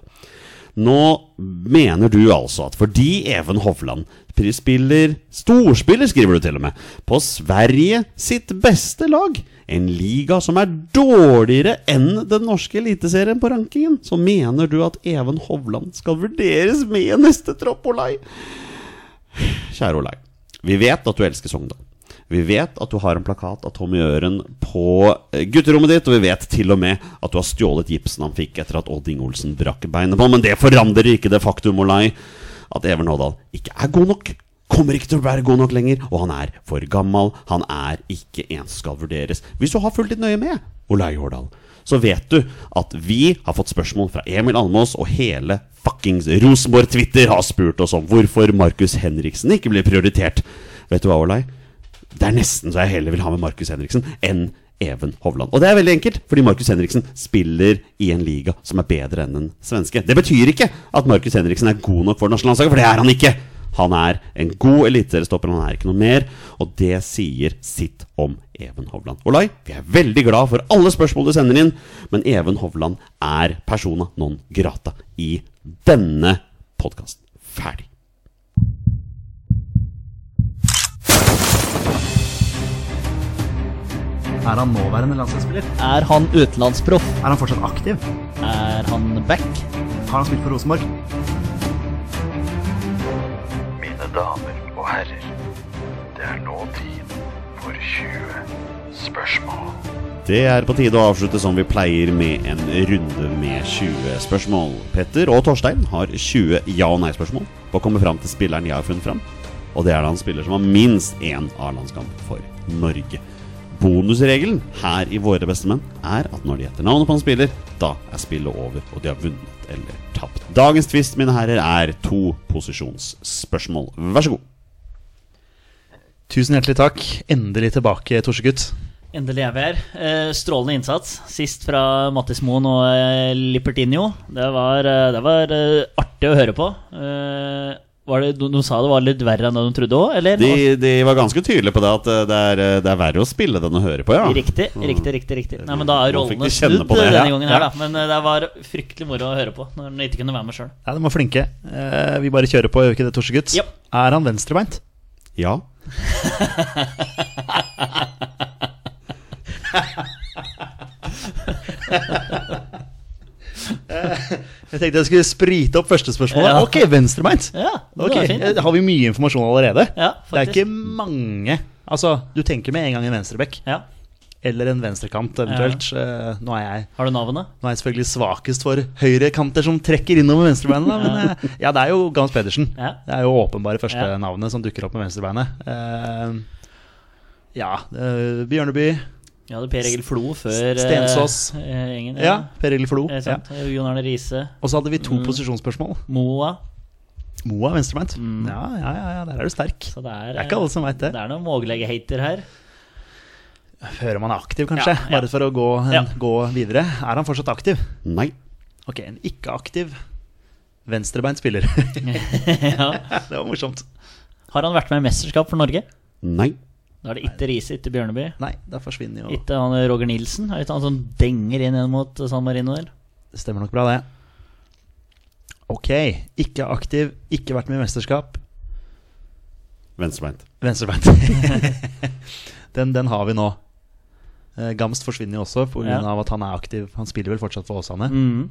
Speaker 1: Nå mener du altså at fordi Even Hovland spiller Storspiller, skriver du til og med, på Sverige sitt beste lag, en liga som er dårligere enn den norske eliteserien på rankingen, så mener du at Even Hovland skal vurderes med i neste tropp, Olai? Kjære Olai, vi vet at du elsker Sogndal. Vi vet at du har en plakat av Tommy Øren på eh, gutterommet ditt, og vi vet til og med at du har stjålet gipsen han fikk etter at Odd Ingolsen brakk beinet på, men det forandrer ikke det faktum, Olai, at Even Hådal ikke er god nok. Kommer ikke til å være god nok lenger, og han er for gammel. Han er ikke en som skal vurderes. Hvis du har fulgt litt nøye med, Olai Hårdal, så vet du at vi har fått spørsmål fra Emil Almås, og hele fuckings Rosenborg Twitter har spurt oss om hvorfor Markus Henriksen ikke blir prioritert. Vet du hva, Olai? Det er nesten så jeg heller vil ha med Markus Henriksen enn Even Hovland. Og det er veldig enkelt, fordi Markus Henriksen spiller i en liga som er bedre enn den svenske. Det betyr ikke at Markus Henriksen er god nok for det norske landslaget, for det er han ikke. Han er en god eliteseriestopper, han er ikke noe mer. Og det sier sitt om Even Hovland. Olai, vi er veldig glad for alle spørsmål du sender inn, men Even Hovland er persona non grata i denne podkasten. Ferdig.
Speaker 3: Er han nåværende landslagsspiller?
Speaker 2: Er han utenlandsproff?
Speaker 3: Er han fortsatt aktiv?
Speaker 2: Er han back?
Speaker 3: Har han spilt for Rosenborg?
Speaker 5: Mine damer og herrer, det er nå tid for 20 spørsmål.
Speaker 1: Det er på tide å avslutte som vi pleier med en runde med 20 spørsmål. Petter og Torstein har 20 ja- og nei-spørsmål og kommer fram til spilleren jeg har funnet fram. Og det er da en spiller som har minst én A-landskamp for Norge. Bonusregelen her i Våre bestemenn er at når de gjetter navnet på en spiller, da er spillet over, og de har vunnet eller tapt. Dagens tvist, mine herrer, er to posisjonsspørsmål. Vær så god.
Speaker 3: Tusen hjertelig takk. Endelig tilbake, Torsegutt.
Speaker 2: Endelig er vi her. Eh, strålende innsats. Sist fra Mattis Moen og eh, Libertinho. Det var, eh, det var eh, artig å høre på. Eh, var det, de, de sa det var litt verre enn det de trodde òg, eller?
Speaker 1: De, de var ganske tydelige på det at eh, det er, eh, det er verre å spille den å høre på, ja.
Speaker 2: Riktig, riktig, riktig. riktig Nei, men Da er
Speaker 1: Nå fikk
Speaker 2: rollene
Speaker 1: de kjenne
Speaker 2: snudd
Speaker 1: på det,
Speaker 2: denne
Speaker 1: ja.
Speaker 2: gangen her,
Speaker 1: Ja.
Speaker 2: da. Men eh, det var fryktelig moro å høre på når den ikke kunne være med sjøl.
Speaker 3: Ja, De var flinke. Eh, vi bare kjører på, gjør vi ikke det, Torsegutt?
Speaker 2: Ja.
Speaker 3: Er han venstrebeint?
Speaker 1: Ja.
Speaker 3: Jeg tenkte jeg skulle sprite opp første spørsmålet.
Speaker 2: Ja.
Speaker 3: Ok, venstrebeint.
Speaker 2: Ja, det
Speaker 3: Ok,
Speaker 2: var fint.
Speaker 3: eh, Har vi mye informasjon allerede?
Speaker 2: Ja,
Speaker 3: det er
Speaker 2: faktisk.
Speaker 3: ikke mange Altså, du tenker med en gang en venstrebekk.
Speaker 2: Ja.
Speaker 3: Eller en venstrekant, eventuelt. Eh, Nå, er jeg,
Speaker 2: Har du navnet?
Speaker 3: nå er jeg selvfølgelig svakest for høyrekanter som trekker innover venstrebeinet. da, Men eh, ja, det er jo Gans Pedersen.
Speaker 2: Ja.
Speaker 3: Det er jo åpenbare første
Speaker 2: Ja.
Speaker 3: navnet som dukker opp med venstrebeinet. Eh, ja, eh, Bjørneby.
Speaker 2: Ja, det er Per Egil Flo før eh,
Speaker 3: Stensås.
Speaker 2: eh, gjengen.
Speaker 3: Ja, Per Egil Flo.
Speaker 2: Eh,
Speaker 3: Ja.
Speaker 2: sant? Mm. Jon Arne Riise.
Speaker 3: Og så hadde vi to posisjonsspørsmål.
Speaker 2: Moa.
Speaker 3: Moa er venstrebeint. Ja, ja, ja, ja, der er du sterk.
Speaker 2: Mm. Så det er,
Speaker 3: Det er ikke alle som veit det.
Speaker 2: Det er noen Måglegge-hater her.
Speaker 3: Hører man er aktiv, kanskje.
Speaker 2: Ja, ja.
Speaker 3: Bare for å gå,
Speaker 2: Ja.
Speaker 3: gå videre. Er han fortsatt aktiv?
Speaker 1: Nei.
Speaker 3: Ok, en ikke-aktiv venstrebeint spiller.
Speaker 2: ja.
Speaker 3: det var morsomt.
Speaker 2: Har han vært med i mesterskap for Norge?
Speaker 1: Nei.
Speaker 2: Da er det ikke Riise, ikke Bjørneby.
Speaker 3: Nei, der forsvinner jo
Speaker 2: Ikke han Roger Nilsen. Er det ikke han som denger inn igjen mot San Marino der?
Speaker 3: Det stemmer nok bra, det. Ok, ikke aktiv, ikke vært med i mesterskap.
Speaker 1: Venstrebeint.
Speaker 3: Venstrebeint. den, den har vi nå. Eh, Gamst forsvinner jo også pga.
Speaker 2: Ja.
Speaker 3: av at han er aktiv. Han spiller vel fortsatt for Åsane.
Speaker 2: Mm.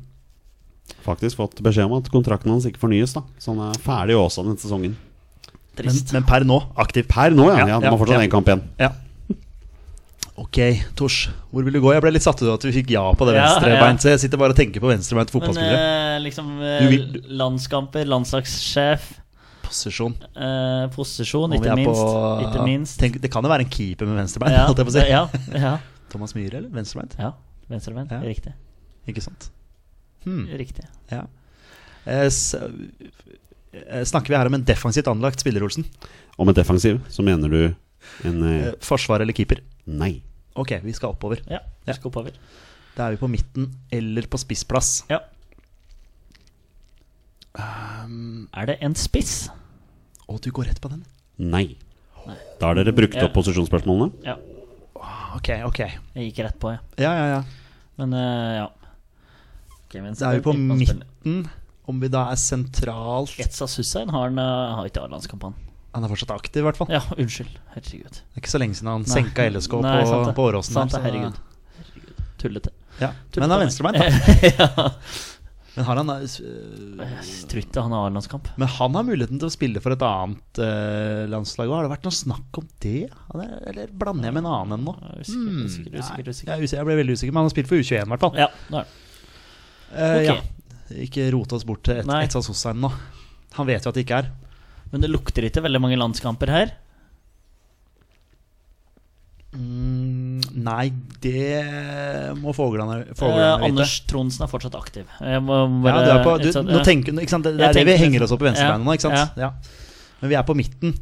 Speaker 1: Faktisk fått beskjed om at kontrakten hans ikke fornyes, da. Så han er ferdig i Åsane denne sesongen.
Speaker 3: Men,
Speaker 2: Trist.
Speaker 3: men per nå aktiv.
Speaker 1: Per nå, ja.
Speaker 3: Ja,
Speaker 1: ja, han har
Speaker 3: ja,
Speaker 1: fortsatt
Speaker 3: ja.
Speaker 1: én kamp igjen.
Speaker 3: Ja. Ok, Tors. Hvor vil du gå? Jeg ble litt satt ut av at vi fikk ja på det
Speaker 2: Ja,
Speaker 3: venstrebeint. Så jeg sitter bare og tenker på venstrebeint
Speaker 2: Men
Speaker 3: fotballspillere.
Speaker 2: eh, liksom eh,
Speaker 3: Du vil-
Speaker 2: Landskamper, landslagssjef,
Speaker 3: Posisjon.
Speaker 2: eh, posisjon,
Speaker 3: Om vi
Speaker 2: ikke
Speaker 3: er
Speaker 2: minst.
Speaker 3: på-
Speaker 2: Ikke minst.
Speaker 3: Tenk, det kan jo være en keeper med venstrebeint,
Speaker 2: Ja,
Speaker 3: holdt jeg på å si.
Speaker 2: ja, ja,
Speaker 3: Thomas Myhre, eller? Venstrebeint?
Speaker 2: ja. Mm. Venstrebeint.
Speaker 3: Ja.
Speaker 2: Riktig.
Speaker 3: Ikke sant? Hmm.
Speaker 2: Riktig.
Speaker 3: Ja. Eh, s- eh, snakker vi her om en defensivt anlagt spiller, Olsen?
Speaker 1: Om et defensiv, så mener du en eh,
Speaker 3: Eh, forsvar eller keeper?
Speaker 1: Nei.
Speaker 3: Ok, vi skal oppover.
Speaker 2: Ja,
Speaker 3: Ja.
Speaker 2: vi skal oppover.
Speaker 3: Da er vi på midten eller på spissplass.
Speaker 2: Ja. er det en spiss?
Speaker 3: Å, du går rett på den?
Speaker 1: Nei. Da har dere brukt
Speaker 2: Ja.
Speaker 1: opp posisjonsspørsmålene.
Speaker 2: Ja,
Speaker 3: Ok, ok.
Speaker 2: jeg gikk rett på, jeg.
Speaker 3: Ja, ja, ja.
Speaker 2: Men eh, ja. Okay, men
Speaker 3: Da er vi på
Speaker 2: kan spille.
Speaker 3: midten. Om vi da er sentralt
Speaker 2: Etsa Sussein har, en, eh, har ikke A-landskamp, han.
Speaker 3: Han er fortsatt aktiv, i hvert fall.
Speaker 2: Ja, unnskyld. Herregud.
Speaker 3: Det er ikke så lenge siden han
Speaker 2: Nei.
Speaker 3: senka LSK på,
Speaker 2: Nei, sant det.
Speaker 3: på Åråsen.
Speaker 2: Sant
Speaker 3: der, så-
Speaker 2: det, herregud. herregud. Tullete.
Speaker 3: Ja.
Speaker 2: Tullete
Speaker 3: Men han
Speaker 2: av
Speaker 3: er
Speaker 2: meg.
Speaker 3: venstrebeint, da.
Speaker 2: ja.
Speaker 3: Men, har han, øh,
Speaker 2: Jeg tror ikke han har A-landskamp.
Speaker 3: men han har muligheten til å spille for et annet øh, landslag òg. Har det vært noe snakk om det? Eller, eller blander jeg med en annen enn nå? Hmm.
Speaker 2: Jeg er Usikker, usikker, usikker.
Speaker 3: Jeg,
Speaker 2: usikker.
Speaker 3: er usikker, jeg ble veldig usikker, men han har spilt for U21 i hvert fall.
Speaker 2: Ja, nå er det.
Speaker 3: Eh,
Speaker 2: ok.
Speaker 3: ja. Ikke rote oss bort til et,
Speaker 2: Nei.
Speaker 3: Etsa Sosheim nå. Han vet jo at det ikke er.
Speaker 2: Men det lukter ikke veldig mange landskamper her.
Speaker 3: Mm, nei, det må fuglene,
Speaker 2: Eh,
Speaker 3: fuglene vite.
Speaker 2: Anders Tronsen er fortsatt aktiv. Jeg må
Speaker 3: Ja,
Speaker 2: bare,
Speaker 3: du er på, du,
Speaker 2: ikke sant?
Speaker 3: nå
Speaker 2: Ja.
Speaker 3: tenker, ikke sant? Det, det
Speaker 2: Jeg
Speaker 3: er det vi
Speaker 2: tenker- liksom-
Speaker 3: henger oss opp i venstrebeinet
Speaker 2: Ja,
Speaker 3: nå, ikke sant? Ja. Men vi er på midten.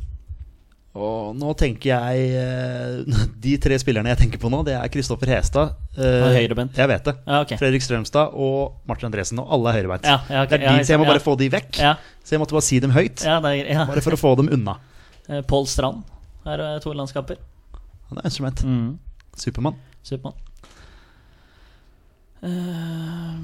Speaker 3: Og nå tenker jeg eh, De tre spillerne jeg tenker på nå, det er Kristoffer Hestad. eh,
Speaker 2: Og høyrebent.
Speaker 3: Jeg vet det.
Speaker 2: Ja, ok.
Speaker 3: Fredrik Strømstad og Martin Andresen. Og alle er høyrebeint.
Speaker 2: Ja, ja, ok.
Speaker 3: Det er de,
Speaker 2: Ja,
Speaker 3: så jeg må
Speaker 2: ja.
Speaker 3: bare få de vekk.
Speaker 2: Ja,
Speaker 3: Så jeg måtte bare si dem høyt.
Speaker 2: ja, det er, ja.
Speaker 3: Bare for å få dem unna.
Speaker 2: Eh, Pål Strand er eh, to landskamper.
Speaker 3: Han er instrument.
Speaker 2: Mm.
Speaker 3: Supermann.
Speaker 2: Supermann. Eh,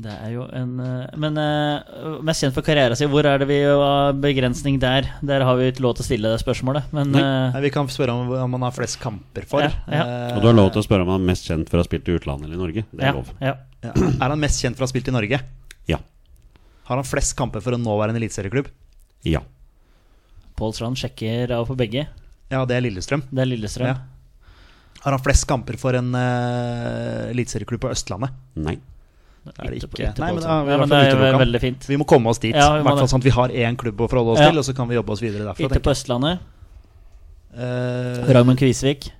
Speaker 2: det er jo en eh, Men eh, mest kjent for karrieren sin, hvor er det vi har begrensning der? Der har vi ikke lov til å stille det spørsmålet, men eh,
Speaker 3: Nei, vi kan spørre om, om han har flest kamper for.
Speaker 2: Ja, ja.
Speaker 3: Eh,
Speaker 1: Og du har lov til å spørre om han er mest kjent for å ha spilt i utlandet eller i Norge. Det er
Speaker 2: ja,
Speaker 1: lov.
Speaker 2: ja.
Speaker 3: ja. Er han mest kjent for å ha spilt i Norge?
Speaker 1: Ja.
Speaker 3: Har han flest kamper for en nåværende eliteserieklubb?
Speaker 1: Ja.
Speaker 2: Pål Strand sjekker av på begge.
Speaker 3: Ja, det er Lillestrøm.
Speaker 2: Det er Lillestrøm.
Speaker 3: Ja. Har han flest kamper for en uh, eliteserieklubb på Østlandet?
Speaker 1: Nei.
Speaker 3: Er det
Speaker 2: Ikke på-
Speaker 3: ikke?
Speaker 2: ikke
Speaker 3: Nei,
Speaker 2: på
Speaker 3: men,
Speaker 2: Pål
Speaker 3: da,
Speaker 2: Strand.
Speaker 3: har vi
Speaker 2: ja,
Speaker 3: i
Speaker 2: men
Speaker 3: hvert
Speaker 2: det
Speaker 3: fall
Speaker 2: er jo
Speaker 3: utelukket han.
Speaker 2: veldig fint.
Speaker 3: vi må komme oss dit.
Speaker 2: Ja, vi
Speaker 3: I
Speaker 2: må
Speaker 3: hvert
Speaker 2: det.
Speaker 3: fall sånn at vi har én klubb å forholde oss
Speaker 2: Ja.
Speaker 3: til, og så kan vi jobbe oss videre derfra.
Speaker 2: Ikke
Speaker 3: tenker
Speaker 2: på
Speaker 3: jeg.
Speaker 2: Østlandet.
Speaker 3: Eh,
Speaker 2: Raymond Kvisvik.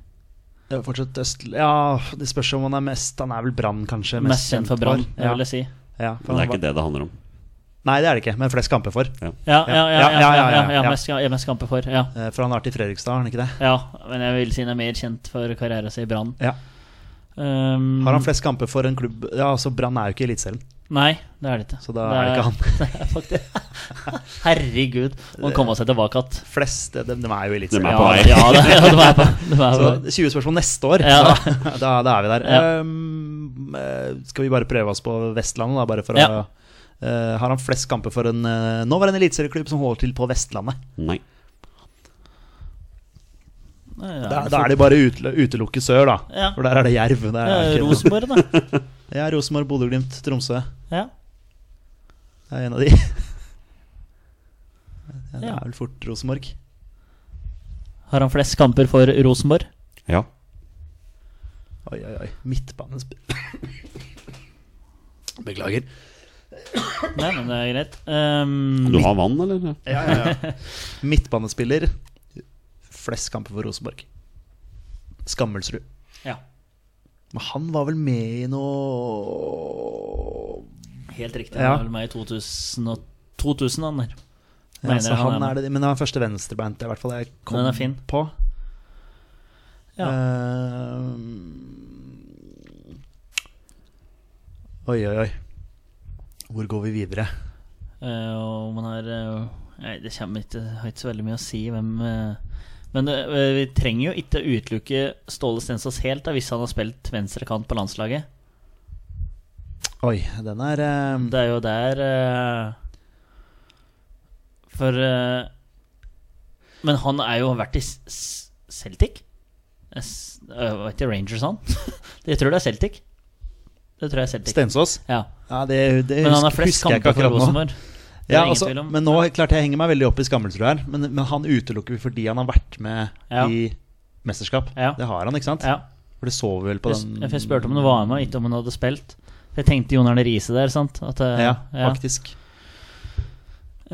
Speaker 3: ja, fortsatt øst... Ja, det spørs om han er mest Han er vel Brann, kanskje.
Speaker 2: Mest kjent for Brann, det
Speaker 3: Ja.
Speaker 2: vil jeg si.
Speaker 3: Ja, for
Speaker 1: Men det er
Speaker 3: han var-
Speaker 1: ikke det det handler om.
Speaker 3: Nei, det er det ikke, men flest kamper for.
Speaker 2: Ja, ja, ja. ja, ja, ja,
Speaker 3: ja, ja.
Speaker 2: Mest, ja mest kamper for. Ja.
Speaker 3: Eh, for han har vært i Fredrikstad, har han ikke det?
Speaker 2: ja, men jeg vil si han er mer kjent for karrieren sin i Brann.
Speaker 3: Ja.
Speaker 2: Um,
Speaker 3: Har han flest kamper for en klubb Ja, altså Brann er jo ikke i Eliteserien,
Speaker 2: Nei, det er det ikke.
Speaker 3: så da er det ikke han.
Speaker 2: det er faktisk Herregud, man kommer seg tilbake igjen.
Speaker 3: Flest, de, de er jo i
Speaker 1: De
Speaker 3: Eliteserien.
Speaker 1: er
Speaker 2: Ja,
Speaker 1: på vei.
Speaker 2: ja, det, ja, det var jeg på. Det var
Speaker 3: Så
Speaker 2: jeg
Speaker 3: 20
Speaker 2: på.
Speaker 3: spørsmål neste år,
Speaker 2: Ja.
Speaker 3: så da, da er vi der.
Speaker 2: Ja.
Speaker 3: Um, eh, skal vi bare prøve oss på Vestlandet, da? Bare for
Speaker 2: Ja.
Speaker 3: å, eh, har han flest kamper for en uh, nåværende eliteserieklubb som holder til på Vestlandet?
Speaker 1: Nei.
Speaker 2: Ja,
Speaker 3: Da, da er det bare å utel utelukke sør, da.
Speaker 2: Ja.
Speaker 3: For der er det Jerv. Det er
Speaker 2: Ja,
Speaker 3: ikke-
Speaker 2: Rosenborg, da.
Speaker 3: Ja, Rosenborg, Bodø-Glimt, Tromsø.
Speaker 2: Ja.
Speaker 3: Det er en av de. Ja, det
Speaker 2: Ja.
Speaker 3: er vel fort Rosenborg.
Speaker 2: Har han flest kamper for Rosenborg?
Speaker 1: Ja.
Speaker 3: Oi, oi, oi. Midtbanesp... Beklager.
Speaker 2: Nei, men det er greit. Um,
Speaker 1: Du har vann, eller?
Speaker 3: Ja, ja, ja. Midtbanespiller. Flest kamper for Rosenborg. Skammelsrud.
Speaker 2: ja,
Speaker 3: Men han var vel med i noe
Speaker 2: helt riktig.
Speaker 3: Ja.
Speaker 2: Han var vel med i 2000, og- 2000 han der.
Speaker 3: ja,
Speaker 2: Mener
Speaker 3: så Altså,
Speaker 2: jeg han
Speaker 3: han
Speaker 2: er
Speaker 3: er det, Men han er første venstrebeint, i hvert fall jeg kom
Speaker 2: Den er fin.
Speaker 3: på.
Speaker 2: Ja.
Speaker 3: Eh, oi, oi, oi. Hvor går vi videre?
Speaker 2: Eh, og man har eh, Nei, det kommer ikke Har ikke så veldig mye å si hvem eh, Men eh, vi trenger jo ikke utelukke Ståle Stensås helt da, hvis han har spilt venstrekant på landslaget.
Speaker 3: Oi, den er eh,
Speaker 2: Det er jo der eh, For eh, Men han er jo vært i S- S- Celtic? S- eh, Var ikke Rangers, han? jeg tror det er Celtic. Det tror jeg er Celtic.
Speaker 3: Stensås?
Speaker 2: Ja.
Speaker 3: Ja, det, det
Speaker 2: Men han
Speaker 3: husker,
Speaker 2: har flest
Speaker 3: husker jeg ikke
Speaker 2: kamper for
Speaker 3: akkurat nå.
Speaker 2: Rosenborg. Det er
Speaker 3: Ja,
Speaker 2: det ingen
Speaker 3: altså,
Speaker 2: tvil om.
Speaker 3: men nå klart jeg henger meg veldig opp i Skammelsrud her. Men, men han utelukker vi fordi han har vært med
Speaker 2: Ja.
Speaker 3: i mesterskap.
Speaker 2: Ja.
Speaker 3: Det har han, ikke sant?
Speaker 2: Ja.
Speaker 3: For det så vi vel på
Speaker 2: Jeg,
Speaker 3: den
Speaker 2: jeg, jeg spurte om det var med, ikke om han hadde spilt. Jeg tenkte Jon Arne Riise der, sant? At, eh,
Speaker 3: Ja,
Speaker 2: ja.
Speaker 3: faktisk.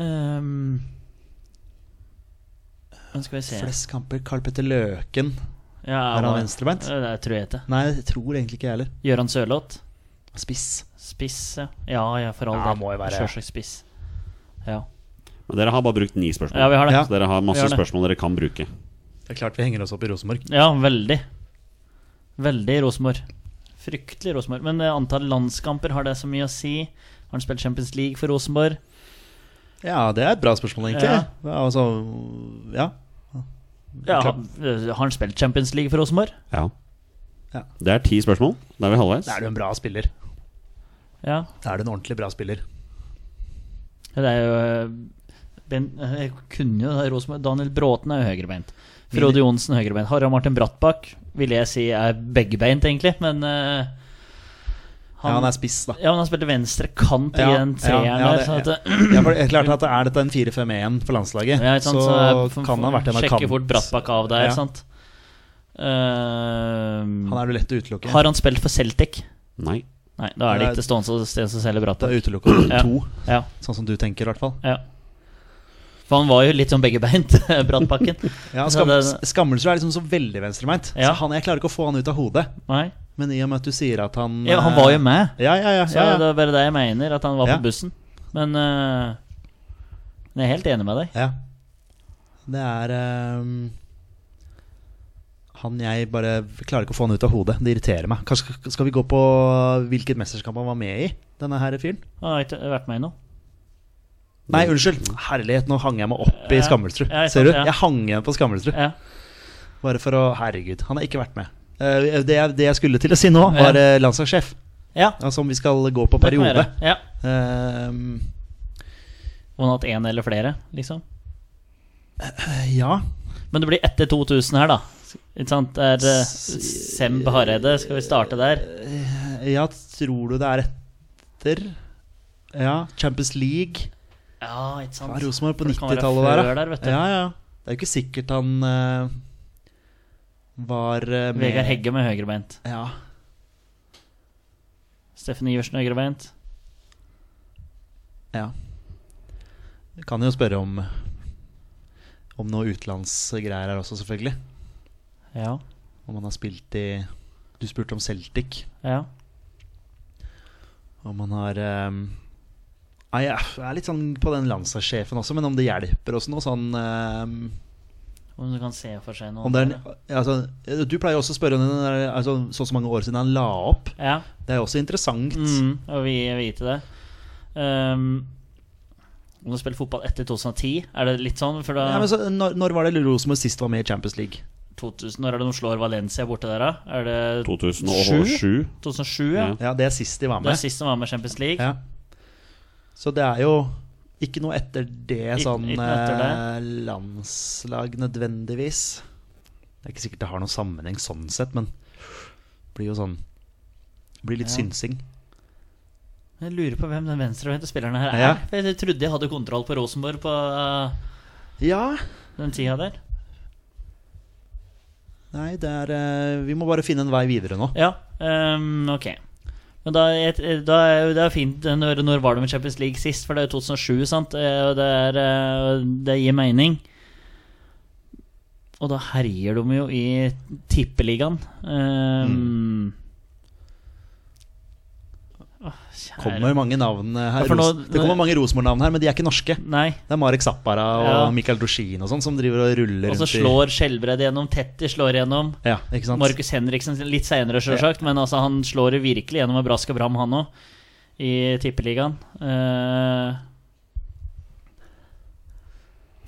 Speaker 2: Ehm, men skal vi se
Speaker 3: Flest kamper. Karl Petter Løken.
Speaker 2: Ja,
Speaker 3: Er han
Speaker 2: hva-
Speaker 3: venstrebeint?
Speaker 2: Ja, Det tror jeg ikke.
Speaker 3: Nei, jeg tror egentlig ikke jeg heller.
Speaker 2: Gøran Sørloth.
Speaker 3: Spiss.
Speaker 2: Spiss, ja. Ja, ja, for all
Speaker 3: Ja,
Speaker 2: del.
Speaker 3: må jo være.
Speaker 2: Sjølsagt spiss. Ja.
Speaker 1: Men dere har bare brukt ni spørsmål.
Speaker 2: ja, vi har det.
Speaker 3: Ja.
Speaker 1: Så dere har masse
Speaker 2: Vi har det.
Speaker 1: spørsmål dere kan bruke.
Speaker 3: Det er klart vi henger oss opp i Rosenborg.
Speaker 2: Ja, veldig. Veldig Rosenborg. Fryktelig Rosenborg. Men eh, antall landskamper, har det så mye å si? Har han spilt Champions League for Rosenborg?
Speaker 3: Ja, det er et bra spørsmål, egentlig.
Speaker 2: Ja.
Speaker 3: Ja, altså, ja.
Speaker 2: Ja,
Speaker 3: Klart.
Speaker 2: eh, Har han spilt Champions League for Rosenborg?
Speaker 1: Ja.
Speaker 3: Ja.
Speaker 1: Det er ti spørsmål. Da er vi halvveis.
Speaker 3: Da er du en bra spiller.
Speaker 2: Ja.
Speaker 3: Da er du en ordentlig bra spiller.
Speaker 2: Det er jo eh, ben, eh, Jeg kunne jo det Rosenborg. Daniel Bråten er jo høyrebeint.
Speaker 3: Mini-
Speaker 2: Frode Johnsen høyrebeint. Harald Martin Brattbakk vil jeg si er beggebeint, egentlig, men eh,
Speaker 3: ja, han er spiss, da.
Speaker 2: Ja, men han spilte venstre kant i
Speaker 3: Ja,
Speaker 2: den treeren
Speaker 3: ja, ja,
Speaker 2: der.
Speaker 3: det-
Speaker 2: Så at, eh,
Speaker 3: Ja, for det er klart at Er dette en 4-5-1 for landslaget,
Speaker 2: Ja, ikke sant?
Speaker 3: så,
Speaker 2: jeg
Speaker 3: kan han ha vært en av
Speaker 2: Sjekke
Speaker 3: kant.
Speaker 2: fort Brattbakk av der,
Speaker 3: Ja.
Speaker 2: sant? Ehm,
Speaker 3: Han er du lett å utelukke.
Speaker 2: har han spilt for Celtic?
Speaker 1: Nei.
Speaker 2: Nei, da er det
Speaker 3: Nei.
Speaker 2: ikke Stående som selger
Speaker 3: Da
Speaker 2: Brattbakk.
Speaker 3: utelukker du
Speaker 2: Ja.
Speaker 3: to,
Speaker 2: Ja,
Speaker 3: sånn som du tenker, i hvert fall.
Speaker 2: ja. For han var jo litt sånn beggebeint, Brattbakken.
Speaker 3: Ja,
Speaker 2: Så
Speaker 3: skam,
Speaker 2: det-
Speaker 3: Skammelsrud er liksom så veldig venstremeint.
Speaker 2: Ja.
Speaker 3: Så han, Jeg klarer ikke å få han ut av hodet.
Speaker 2: Nei.
Speaker 3: Men i og med at du sier at han
Speaker 2: Ja, han
Speaker 3: eh,
Speaker 2: var jo med,
Speaker 3: Ja, ja, ja.
Speaker 2: så
Speaker 3: ja,
Speaker 2: det
Speaker 3: ja.
Speaker 2: er bare det jeg mener, at han var
Speaker 3: Ja.
Speaker 2: på bussen. Men eh, jeg er helt enig med deg.
Speaker 3: ja. Det er eh, Han jeg bare klarer ikke å få han ut av hodet. Det irriterer meg. Kanskje sk- skal vi gå på hvilket mesterskap han var med i, denne her fyren?
Speaker 2: Han har ikke vært med i noe.
Speaker 3: Nei, unnskyld. Herlighet, nå hang jeg meg opp i
Speaker 2: Mm. Ja.
Speaker 3: Skammelsrud.
Speaker 2: Ja, ikke sant,
Speaker 3: Ser du?
Speaker 2: ja.
Speaker 3: Jeg hang igjen på Skammelsrud.
Speaker 2: Ja.
Speaker 3: Bare for å Herregud, han har ikke vært med. Eh, Det, jeg- det jeg skulle til å si nå, var eh, landslagssjef.
Speaker 2: ja
Speaker 3: Altså om vi skal gå på
Speaker 2: det kan være.
Speaker 3: periode.
Speaker 2: Ja.
Speaker 3: Eh,
Speaker 2: Og han har hatt én eller flere, liksom.
Speaker 3: eh, ja.
Speaker 2: Men det blir etter 2000 her, da. Ikke sant? Det er eh, Semb Hareide. Skal vi starte der?
Speaker 3: Eh, Ja, tror du det er etter? Ja, Champions League.
Speaker 2: Ja, ikke sant.
Speaker 3: Ja, Rosenborg på
Speaker 2: For det kan være
Speaker 3: 90-tallet der,
Speaker 2: før
Speaker 3: ja.
Speaker 2: der, vet du.
Speaker 3: ja, ja. Det er jo ikke sikkert han eh, var eh, med
Speaker 2: Vegard Hegge med høyrebeint.
Speaker 3: Ja.
Speaker 2: Steffen Iversen høyrebeint.
Speaker 3: ja. Du kan jo spørre om Om noe utenlandsgreier her også, selvfølgelig.
Speaker 2: Ja.
Speaker 3: Om han har spilt i Du spurte om Celtic.
Speaker 2: ja.
Speaker 3: Om han har ehm, Nei, jeg er litt sånn på den landslagssjefen også, men om det hjelper også noe sånn ehm,
Speaker 2: Om du kan se for seg noe
Speaker 3: Om det er en,
Speaker 2: andre.
Speaker 3: altså, Du pleier jo også å spørre om den der, altså, så og så mange år siden han la opp.
Speaker 2: Ja.
Speaker 3: Det er jo også interessant.
Speaker 2: Mm, og vi vite det. Ehm, om du spiller fotball etter 2010, er det litt sånn? For da
Speaker 3: Ja, men så, når, når var det Rosenborg sist var med i Champions League?
Speaker 2: 2000, Når er det de slår Valencia borte der, da? Er det
Speaker 1: 2007.
Speaker 2: 2007? Ja.
Speaker 1: Ja.
Speaker 3: Ja, Det er sist de var
Speaker 2: Det
Speaker 3: med.
Speaker 2: er sist de var med i Champions League.
Speaker 3: ja. Så det er jo ikke noe etter det
Speaker 2: Ikke-
Speaker 3: sånn
Speaker 2: ikke noe etter det.
Speaker 3: eh, landslag nødvendigvis. Det er ikke sikkert det har noen sammenheng sånn sett, men det blir jo sånn det Blir litt
Speaker 2: Ja.
Speaker 3: synsing.
Speaker 2: Jeg lurer på hvem den venstrehendte spilleren her er.
Speaker 3: Ja.
Speaker 2: For Jeg trodde jeg hadde kontroll på Rosenborg på eh,
Speaker 3: Ja,
Speaker 2: den tida der.
Speaker 3: nei, det er eh, Vi må bare finne en vei videre nå.
Speaker 2: Ja, ehm, ok. Men da, et- da er jo- det er fint eh, når, når var det med Champions League sist? For det er jo 2007, sant? Eh, Og det, er, eh, det gir mening. Og da herjer de jo i tippeligaen.
Speaker 3: Mm.
Speaker 2: Ehm, Åh, kjære.
Speaker 3: Kommer mange navn eh, her
Speaker 2: Ja, for nå-
Speaker 3: Ros- Det kommer mange Rosenborg-navn her, men de er ikke norske.
Speaker 2: Nei.
Speaker 3: Det er Marek Zappara og
Speaker 2: Ja.
Speaker 3: Mikael Dushin og sånn som driver og ruller
Speaker 2: Og så
Speaker 3: rundt i-
Speaker 2: slår Skjelbred gjennom. Tetti slår gjennom.
Speaker 3: Ja, ikke sant?
Speaker 2: Markus Henriksen litt seinere, sjølsagt, men altså, han slår det virkelig gjennom med brask og bram, han òg, i Tippeligaen. Eh,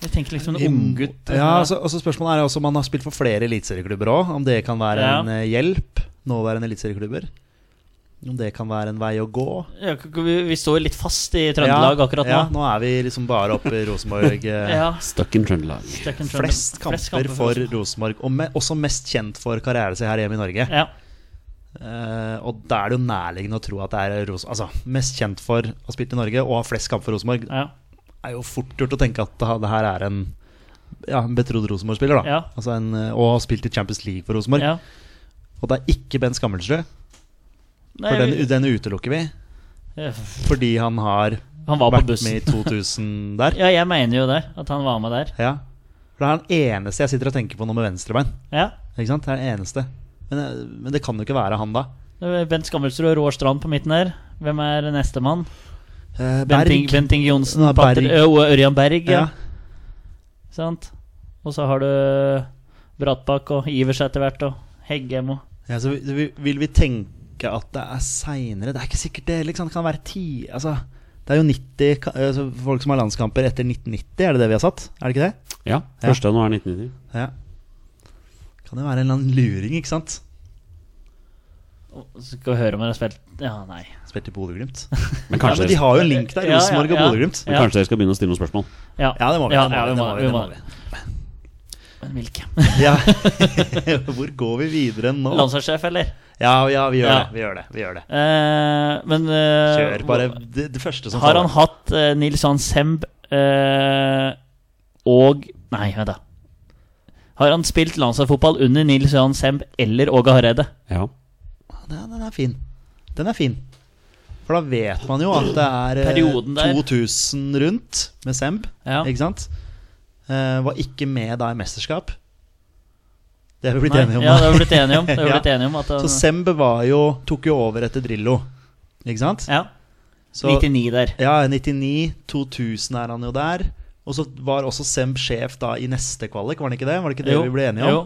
Speaker 2: jeg tenker liksom en unggutt.
Speaker 3: Ja, altså, altså Spørsmålet er også om han har spilt for flere eliteserieklubber òg. Om det kan være
Speaker 2: Ja.
Speaker 3: en eh, hjelp, nåværende eliteserieklubber. Om det kan være en vei å gå.
Speaker 2: Ja, k- k- vi, vi står litt fast i Trøndelag akkurat
Speaker 3: Ja,
Speaker 2: nå.
Speaker 3: nå er vi liksom bare oppe i Rosenborg. eh,
Speaker 2: Ja.
Speaker 1: Stuck in Trøndelag.
Speaker 2: Stekken Trøndelag.
Speaker 3: Flest kamper, for Rosenborg, og me også mest kjent for karrieren sin her hjemme i Norge.
Speaker 2: Ja.
Speaker 3: Eh, og da er det jo nærliggende å tro at det er Ros altså, mest kjent for å ha spilt i Norge og ha flest kamper for Rosenborg.
Speaker 2: ja.
Speaker 3: Det er jo fort gjort å tenke at det her er en ja, en betrodd Rosenborg-spiller. da
Speaker 2: Ja.
Speaker 3: altså en, eh, Og har spilt i Champions League for Rosenborg.
Speaker 2: ja.
Speaker 3: Og det er ikke Bent Skammelsrud,
Speaker 2: Nei,
Speaker 3: for den, den utelukker vi.
Speaker 2: eh,
Speaker 3: Fordi han har
Speaker 2: han var på
Speaker 3: vært med i 2000
Speaker 2: bussen.
Speaker 3: der.
Speaker 2: Ja, jeg mener jo det, at han var med der.
Speaker 3: Ja. For det er den eneste jeg sitter og tenker på nå med venstrebein.
Speaker 2: Ja.
Speaker 3: Ikke sant? Det er den eneste. Men, eh, men det kan jo ikke være han, da.
Speaker 2: Det er Bent Skammelsrud og Roar Strand på midten der. Hvem er nestemann?
Speaker 3: Eh,
Speaker 2: Bent,
Speaker 3: Berg.
Speaker 2: Ing- Bent Inge Johnsen.
Speaker 3: Ja, Berg.
Speaker 2: Patter- Ø- og Ørjan Berg. Ja.
Speaker 3: Ja.
Speaker 2: Sant? Og så har du Bratbakk og Ivers etter hvert, og Heggem og
Speaker 3: Ja, så vi- vi- vil vi tenke at det er seinere? Det er ikke sikkert det. Liksom. Det kan være ti altså, Det er jo 90 ka- altså, folk som har landskamper etter 1990, er det det vi har satt? Er det ikke det?
Speaker 1: Ja,
Speaker 3: Ja.
Speaker 1: første januar 1990.
Speaker 3: Ja. Kan jo være en eller annen luring, ikke sant?
Speaker 2: og så Skal vi høre om han har spilt Ja, nei.
Speaker 3: Spilt i Bodø-Glimt.
Speaker 1: Men
Speaker 3: Ja, men
Speaker 1: kanskje,
Speaker 3: de har jo en link der.
Speaker 2: Ja, ja,
Speaker 3: Rosenborg og
Speaker 2: ja.
Speaker 3: Bodø-Glimt.
Speaker 1: men
Speaker 2: Ja.
Speaker 1: kanskje dere skal begynne å stille noen spørsmål?
Speaker 3: Ja, det må vi.
Speaker 2: Ja,
Speaker 3: det
Speaker 2: ja, det
Speaker 3: må
Speaker 2: må
Speaker 3: vi,
Speaker 2: vi,
Speaker 3: det
Speaker 2: må
Speaker 3: må
Speaker 2: vi.
Speaker 3: vi.
Speaker 2: Men hvilke?
Speaker 3: Ja. Hvor går vi videre nå?
Speaker 2: Landslagssjef, eller?
Speaker 3: Ja, ja, vi gjør
Speaker 2: Ja.
Speaker 3: det. Vi gjør det. Vi gjør det.
Speaker 2: Eh, men eh,
Speaker 3: Kjør bare det, det første som
Speaker 2: Har han
Speaker 3: faller.
Speaker 2: hatt eh, Nils Johan Semb eh, og Nei, vent, da. Har han spilt landslagsfotball under Nils Johan Semb eller Åge Hareide?
Speaker 1: Ja.
Speaker 3: Den, den er fin. Den er fin. For da vet man jo at det er eh,
Speaker 2: Perioden der.
Speaker 3: 2000 rundt med Semb.
Speaker 2: Ja.
Speaker 3: Ikke sant? Eh, var ikke med da i mesterskap. Det har vi blitt
Speaker 2: Nei,
Speaker 3: enige om.
Speaker 2: Ja,
Speaker 3: da.
Speaker 2: det har vi blitt enige om. Det har vi
Speaker 3: Ja.
Speaker 2: blitt enige om at han,
Speaker 3: Så Semb var jo, tok jo over etter Drillo. Ikke sant?
Speaker 2: ja,
Speaker 3: Så,
Speaker 2: 99 der.
Speaker 3: ja, 99, 2000 er han jo der. Og så var også Semb sjef da i neste kvalik, var han ikke det? Var det ikke det vi ble enige om?
Speaker 2: jo.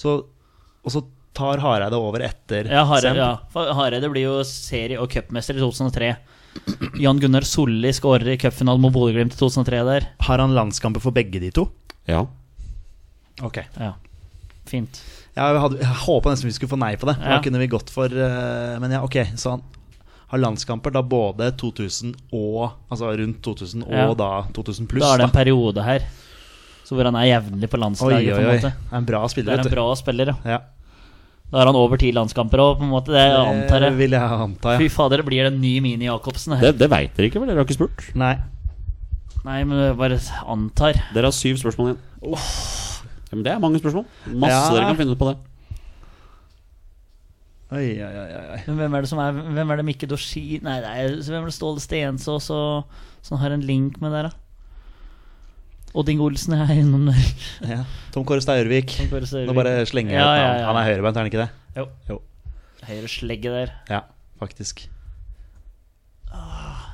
Speaker 3: Så, og så tar Hareide over etter
Speaker 2: Ja, Hareide,
Speaker 3: Semb.
Speaker 2: ja. For Hareide blir jo serie- og cupmester i 2003. Jan Gunnar Solli skårer i cupfinalen mot Bodø-Glimt i 2003 der.
Speaker 3: Har han landskamper for begge de to?
Speaker 1: ja.
Speaker 3: Ok
Speaker 2: Ja, fint.
Speaker 3: Jeg, hadde, jeg håpa nesten vi skulle få nei på det. for
Speaker 2: Ja.
Speaker 3: Da kunne vi gått for eh, Men ja, ok, så han har landskamper da både 2000 og Altså rundt 2000 og
Speaker 2: Ja.
Speaker 3: da 2000 pluss.
Speaker 2: Da er det en
Speaker 3: da.
Speaker 2: periode her Så hvor han er jevnlig på
Speaker 3: Oi, oi,
Speaker 2: landslaget. på en
Speaker 3: oi.
Speaker 2: måte
Speaker 3: Er en bra
Speaker 2: Det
Speaker 3: spiller,
Speaker 2: er en
Speaker 3: vet du.
Speaker 2: bra spiller. Ja.
Speaker 3: Ja.
Speaker 2: Da er han over ti landskamper òg, på en måte. Det antar
Speaker 3: Det
Speaker 2: jeg.
Speaker 3: Eh, vil jeg anta,
Speaker 2: Fy
Speaker 3: ja.
Speaker 2: fader, det blir den nye Mini Jacobsen her.
Speaker 1: Det, det veit dere ikke, vel? Dere har ikke spurt?
Speaker 3: Nei.
Speaker 2: Nei, men jeg bare antar.
Speaker 1: Dere har syv spørsmål igjen. Ja, men det er mange spørsmål. Masse
Speaker 3: Ja.
Speaker 1: dere kan finne ut på det.
Speaker 3: Oi, oi, oi, oi, oi.
Speaker 2: Men hvem er det som er Hvem er det Mikke Doshi Nei, det er, hvem er det Ståle Stensås og som har en link med der, da? Odd Inge Olsen er innom der.
Speaker 3: Ja. Tom Kåre Staurvik.
Speaker 2: Tom Kåre Staurvik.
Speaker 3: Nå bare slenger jeg
Speaker 2: Ja,
Speaker 3: ut
Speaker 2: ja,
Speaker 3: navn.
Speaker 2: ja.
Speaker 3: Han er høyrebeint, er han ikke det?
Speaker 2: Jo.
Speaker 3: Jo.
Speaker 2: Høyre slegge der.
Speaker 3: Ja, faktisk.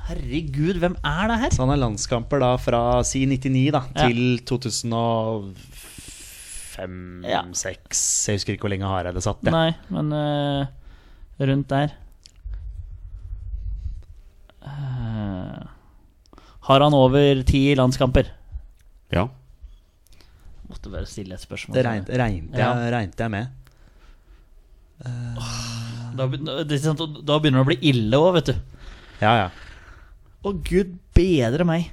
Speaker 2: Herregud, hvem er det her?
Speaker 3: Så han har landskamper da fra si 99 da
Speaker 2: Ja.
Speaker 3: til 2005-2006.
Speaker 2: Ja.
Speaker 3: Jeg husker ikke hvor lenge Hareide satt. jeg.
Speaker 2: Nei, men eh, rundt der. Eh, har han over ti landskamper?
Speaker 1: Ja.
Speaker 2: Måtte bare stille et spørsmål.
Speaker 3: Det regnet, regnet, jeg,
Speaker 2: Ja.
Speaker 3: regnet jeg med.
Speaker 2: Da, begyn- det er sant, og da begynner det å bli ille òg, vet du.
Speaker 3: Ja, ja.
Speaker 2: Å, gud bedre meg.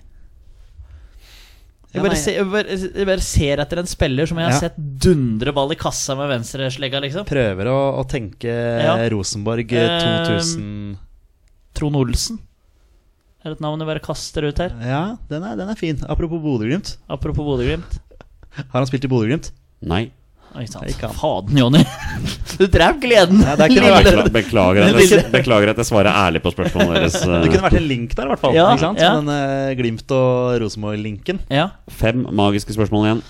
Speaker 2: Jeg
Speaker 3: Ja,
Speaker 2: bare,
Speaker 3: nei,
Speaker 2: ser, jeg, bare, jeg bare ser etter en spiller som jeg har
Speaker 3: Ja.
Speaker 2: sett dundre ball i kassa med venstreslegga, liksom.
Speaker 3: Prøver å, å tenke
Speaker 2: Ja.
Speaker 3: Rosenborg
Speaker 2: Eh,
Speaker 3: 2000
Speaker 2: Trond Olsen. Er det et navn du bare kaster ut her?
Speaker 3: Ja, den er, den er fin. Apropos Bodø-Glimt.
Speaker 2: Apropos Bodø-Glimt.
Speaker 3: Har han spilt i Bodø-Glimt?
Speaker 1: Nei.
Speaker 2: Oi, sant.
Speaker 3: Ikke han.
Speaker 2: Faden, Jonny. Du drev gleden.
Speaker 3: Ja, det, kunne vært,
Speaker 1: Bekla- Beklager at jeg, beklager at jeg svarer ærlig på spørsmålet deres.
Speaker 3: det kunne
Speaker 1: eh.
Speaker 3: vært en link der, i hvert fall.
Speaker 2: Ja,
Speaker 3: ikke sant?
Speaker 2: ja.
Speaker 3: Den eh, Glimt og Rosenborg-linken.
Speaker 2: Ja.
Speaker 1: Fem magiske spørsmål igjen.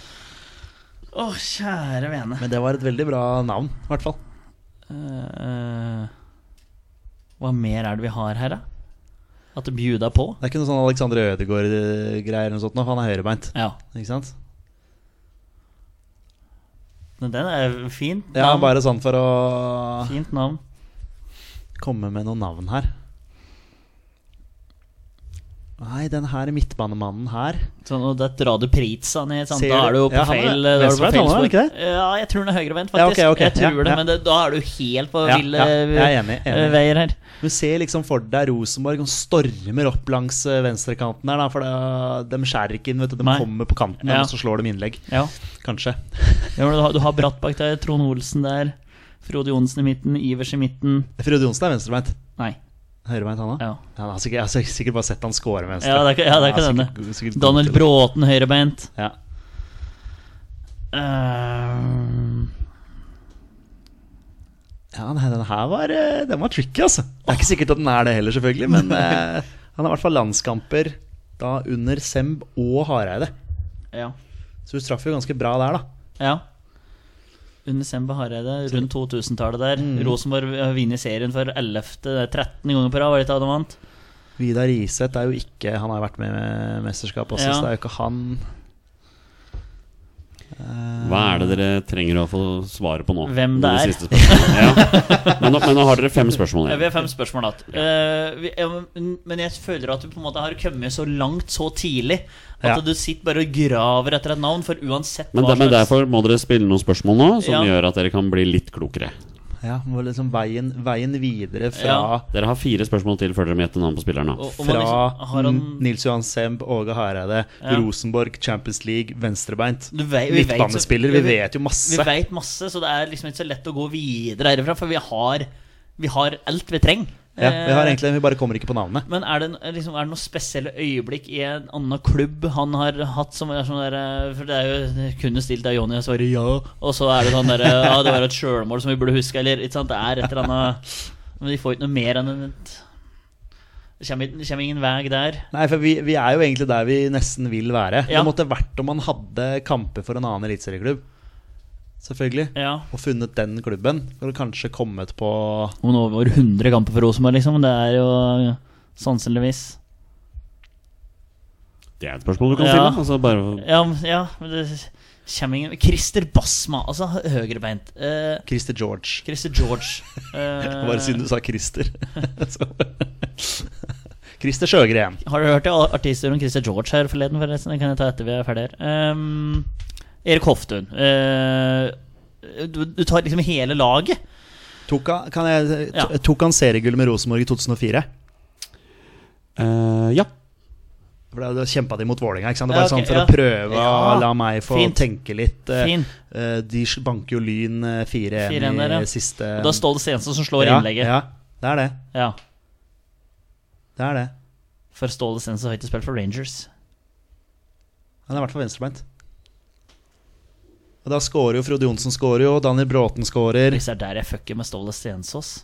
Speaker 2: Å, kjære vene.
Speaker 3: Men det var et veldig bra navn, i hvert fall.
Speaker 2: Eh, hva mer er det vi har her, da? At det bjuda på?
Speaker 3: Det er ikke noe sånn Alexander Ødegaard-greier eller noe sånt nå, for han er høyrebeint.
Speaker 2: Ja.
Speaker 3: Ikke sant?
Speaker 2: Men den er fin.
Speaker 3: Ja,
Speaker 2: navn.
Speaker 3: bare sånn for å
Speaker 2: Fint navn.
Speaker 3: komme med noen navn her. Nei, den her midtbanemannen her
Speaker 2: Sånn, og der drar du Pritza ned, sant?
Speaker 3: Ser
Speaker 2: da er du jo
Speaker 3: du-
Speaker 2: på
Speaker 3: ja, han er
Speaker 2: feil da er du på
Speaker 3: venstrebeint,
Speaker 2: feil
Speaker 3: han er
Speaker 2: spor.
Speaker 3: ikke det?
Speaker 2: Ja, jeg tror han er høyrebeint,
Speaker 3: Ja,
Speaker 2: faktisk.
Speaker 3: ok, ok,
Speaker 2: Jeg tror
Speaker 3: ja,
Speaker 2: det,
Speaker 3: ja.
Speaker 2: men det, da er du helt på
Speaker 3: Ja,
Speaker 2: ville
Speaker 3: ja, jeg er enig, enig.
Speaker 2: eh, veier her.
Speaker 3: Du ser liksom for deg Rosenborg og stormer opp langs eh, venstrekanten her, da, for det, de skjærer ikke inn, vet du. De
Speaker 2: Nei.
Speaker 3: kommer på kanten,
Speaker 2: Ja.
Speaker 3: og så slår de innlegg.
Speaker 2: Ja.
Speaker 3: Kanskje.
Speaker 2: Ja, men du har, du har Brattbakk der, Trond Olsen der, Frode Johnsen i midten, Ivers i midten
Speaker 3: Frode Jonsen er venstrebeint.
Speaker 2: Nei.
Speaker 3: Høyrebeint, han òg?
Speaker 2: Ja.
Speaker 3: Han har sikkert, jeg har sikkert- sikkert bare sett han score med venstre.
Speaker 2: Ja, det er ikke- ja, det er
Speaker 3: Han
Speaker 2: ikke
Speaker 3: sikkert- sikkert-
Speaker 2: Daniel Bråten høyrebeint.
Speaker 3: Ja.
Speaker 2: Ehm,
Speaker 3: Ja, nei, den her var, eh, den var tricky, altså. Det er ikke sikkert at den er det heller, selvfølgelig, men eh, han har i hvert fall landskamper da under Semb og Hareide.
Speaker 2: ja.
Speaker 3: Så hun traff jo ganske bra der, da.
Speaker 2: Ja. Under Sembe Hareide, rundt 2000-tallet der.
Speaker 3: Mm.
Speaker 2: Rosenborg har vunnet serien for 11. 13 ganger på rad, var det ikke det de vant?
Speaker 3: Vidar Iseth er jo ikke Han har jo vært med i mesterskap også,
Speaker 2: Ja.
Speaker 3: så det er jo ikke han.
Speaker 1: Hva er det dere trenger å få svaret på nå?
Speaker 2: Hvem det
Speaker 1: Med
Speaker 2: er.
Speaker 1: siste spørsmålet. ja. men, nå, men nå har dere fem spørsmål
Speaker 2: Ja, vi
Speaker 1: igjen.
Speaker 2: har fem spørsmål igjen. Eh, vi- ja, men- men jeg føler at du på en måte har kommet så langt så tidlig at
Speaker 3: Ja.
Speaker 2: du sitter bare og graver etter et navn, for uansett
Speaker 1: Men,
Speaker 2: hva
Speaker 1: der, men
Speaker 2: slags-
Speaker 1: derfor må dere spille noen spørsmål nå som
Speaker 2: Ja.
Speaker 1: gjør at dere kan bli litt klokere.
Speaker 3: Ja, må liksom veien, veien videre fra
Speaker 2: Ja.
Speaker 1: Dere har fire spørsmål til før dere må gjette navnet på spilleren. nå.
Speaker 2: og- og man
Speaker 3: Fra
Speaker 2: liksom- har han-
Speaker 3: Nils Johan Semb, Åge Hareide, Rosenborg, Champions League, venstrebeint.
Speaker 2: Du vei- vi vet-
Speaker 3: Midtbanespiller. Vi vet jo
Speaker 2: Vi
Speaker 3: masse.
Speaker 2: veit masse, så det er liksom ikke så lett å gå videre herifra, for vi har, vi har alt vi trenger.
Speaker 3: Ja, vi har
Speaker 2: Eh,
Speaker 3: egentlig Vi bare kommer ikke på navnet.
Speaker 2: Men er det, liksom, er det noen spesielle øyeblikk i en annen klubb han har hatt som er sånn der eh, For det er jo det kunne stilt av Jonny og svare ja, og så er det sånn der eh, Ja, det var et sjølmål som vi burde huske, eller ikke sant? Det er et eller annet Men de får ikke noe mer enn et Det kommer, ikke- det kommer ingen vei der.
Speaker 3: Nei, for vi, vi er jo egentlig der vi nesten vil være.
Speaker 2: Ja.
Speaker 3: Det måtte vært om man hadde kamper for en annen eliteserieklubb. Selvfølgelig.
Speaker 2: Ja.
Speaker 3: Og funnet den klubben. Og kanskje kommet på
Speaker 2: Om over 100 kamper for Rosenborg, liksom. Det er jo sannsynligvis
Speaker 1: Det er et spørsmål du kan
Speaker 2: Ja.
Speaker 1: stille. Altså bare,
Speaker 2: Ja, men- ja men det kommer ingen Christer Basma, altså høyrebeint. Eh,
Speaker 3: Christer George.
Speaker 2: Christer George. Eh,
Speaker 3: Bare siden du sa Christer. Så. Christer Sjøgren.
Speaker 2: Har du hørt det? artister om Christer George her forleden? forresten? Det kan jeg ta etter vi er ferdig her. Ehm, Erik Hoftun. Eh, du, du tar liksom hele laget.
Speaker 3: Tok han, kan jeg,
Speaker 2: Ja.
Speaker 3: to- tok han seriegull med Rosenborg i 2004?
Speaker 1: Eh, ja.
Speaker 3: For da- Da kjempa de mot Vålerenga. ikke sant? Det
Speaker 2: Ja,
Speaker 3: var
Speaker 2: ok,
Speaker 3: sånn for
Speaker 2: ja.
Speaker 3: å prøve
Speaker 2: Ja,
Speaker 3: å la meg få
Speaker 2: fint.
Speaker 3: tenke litt. Eh,
Speaker 2: Fin.
Speaker 3: eh, De banker jo Lyn eh, 4-1
Speaker 2: 4-1 der, ja.
Speaker 3: i siste
Speaker 2: Og da er Ståle Stensson som slår
Speaker 3: eh, ja,
Speaker 2: innlegget.
Speaker 3: Ja, det er det.
Speaker 2: Ja.
Speaker 3: det er det.
Speaker 2: For Ståle Stensson har ikke spilt for Rangers.
Speaker 3: Han er i hvert fall venstrebeint. Og da scorer jo Frode Johnsen, scorer jo, Daniel Bråten scorer.
Speaker 2: Hvis det er der jeg fucker med Ståle Stensås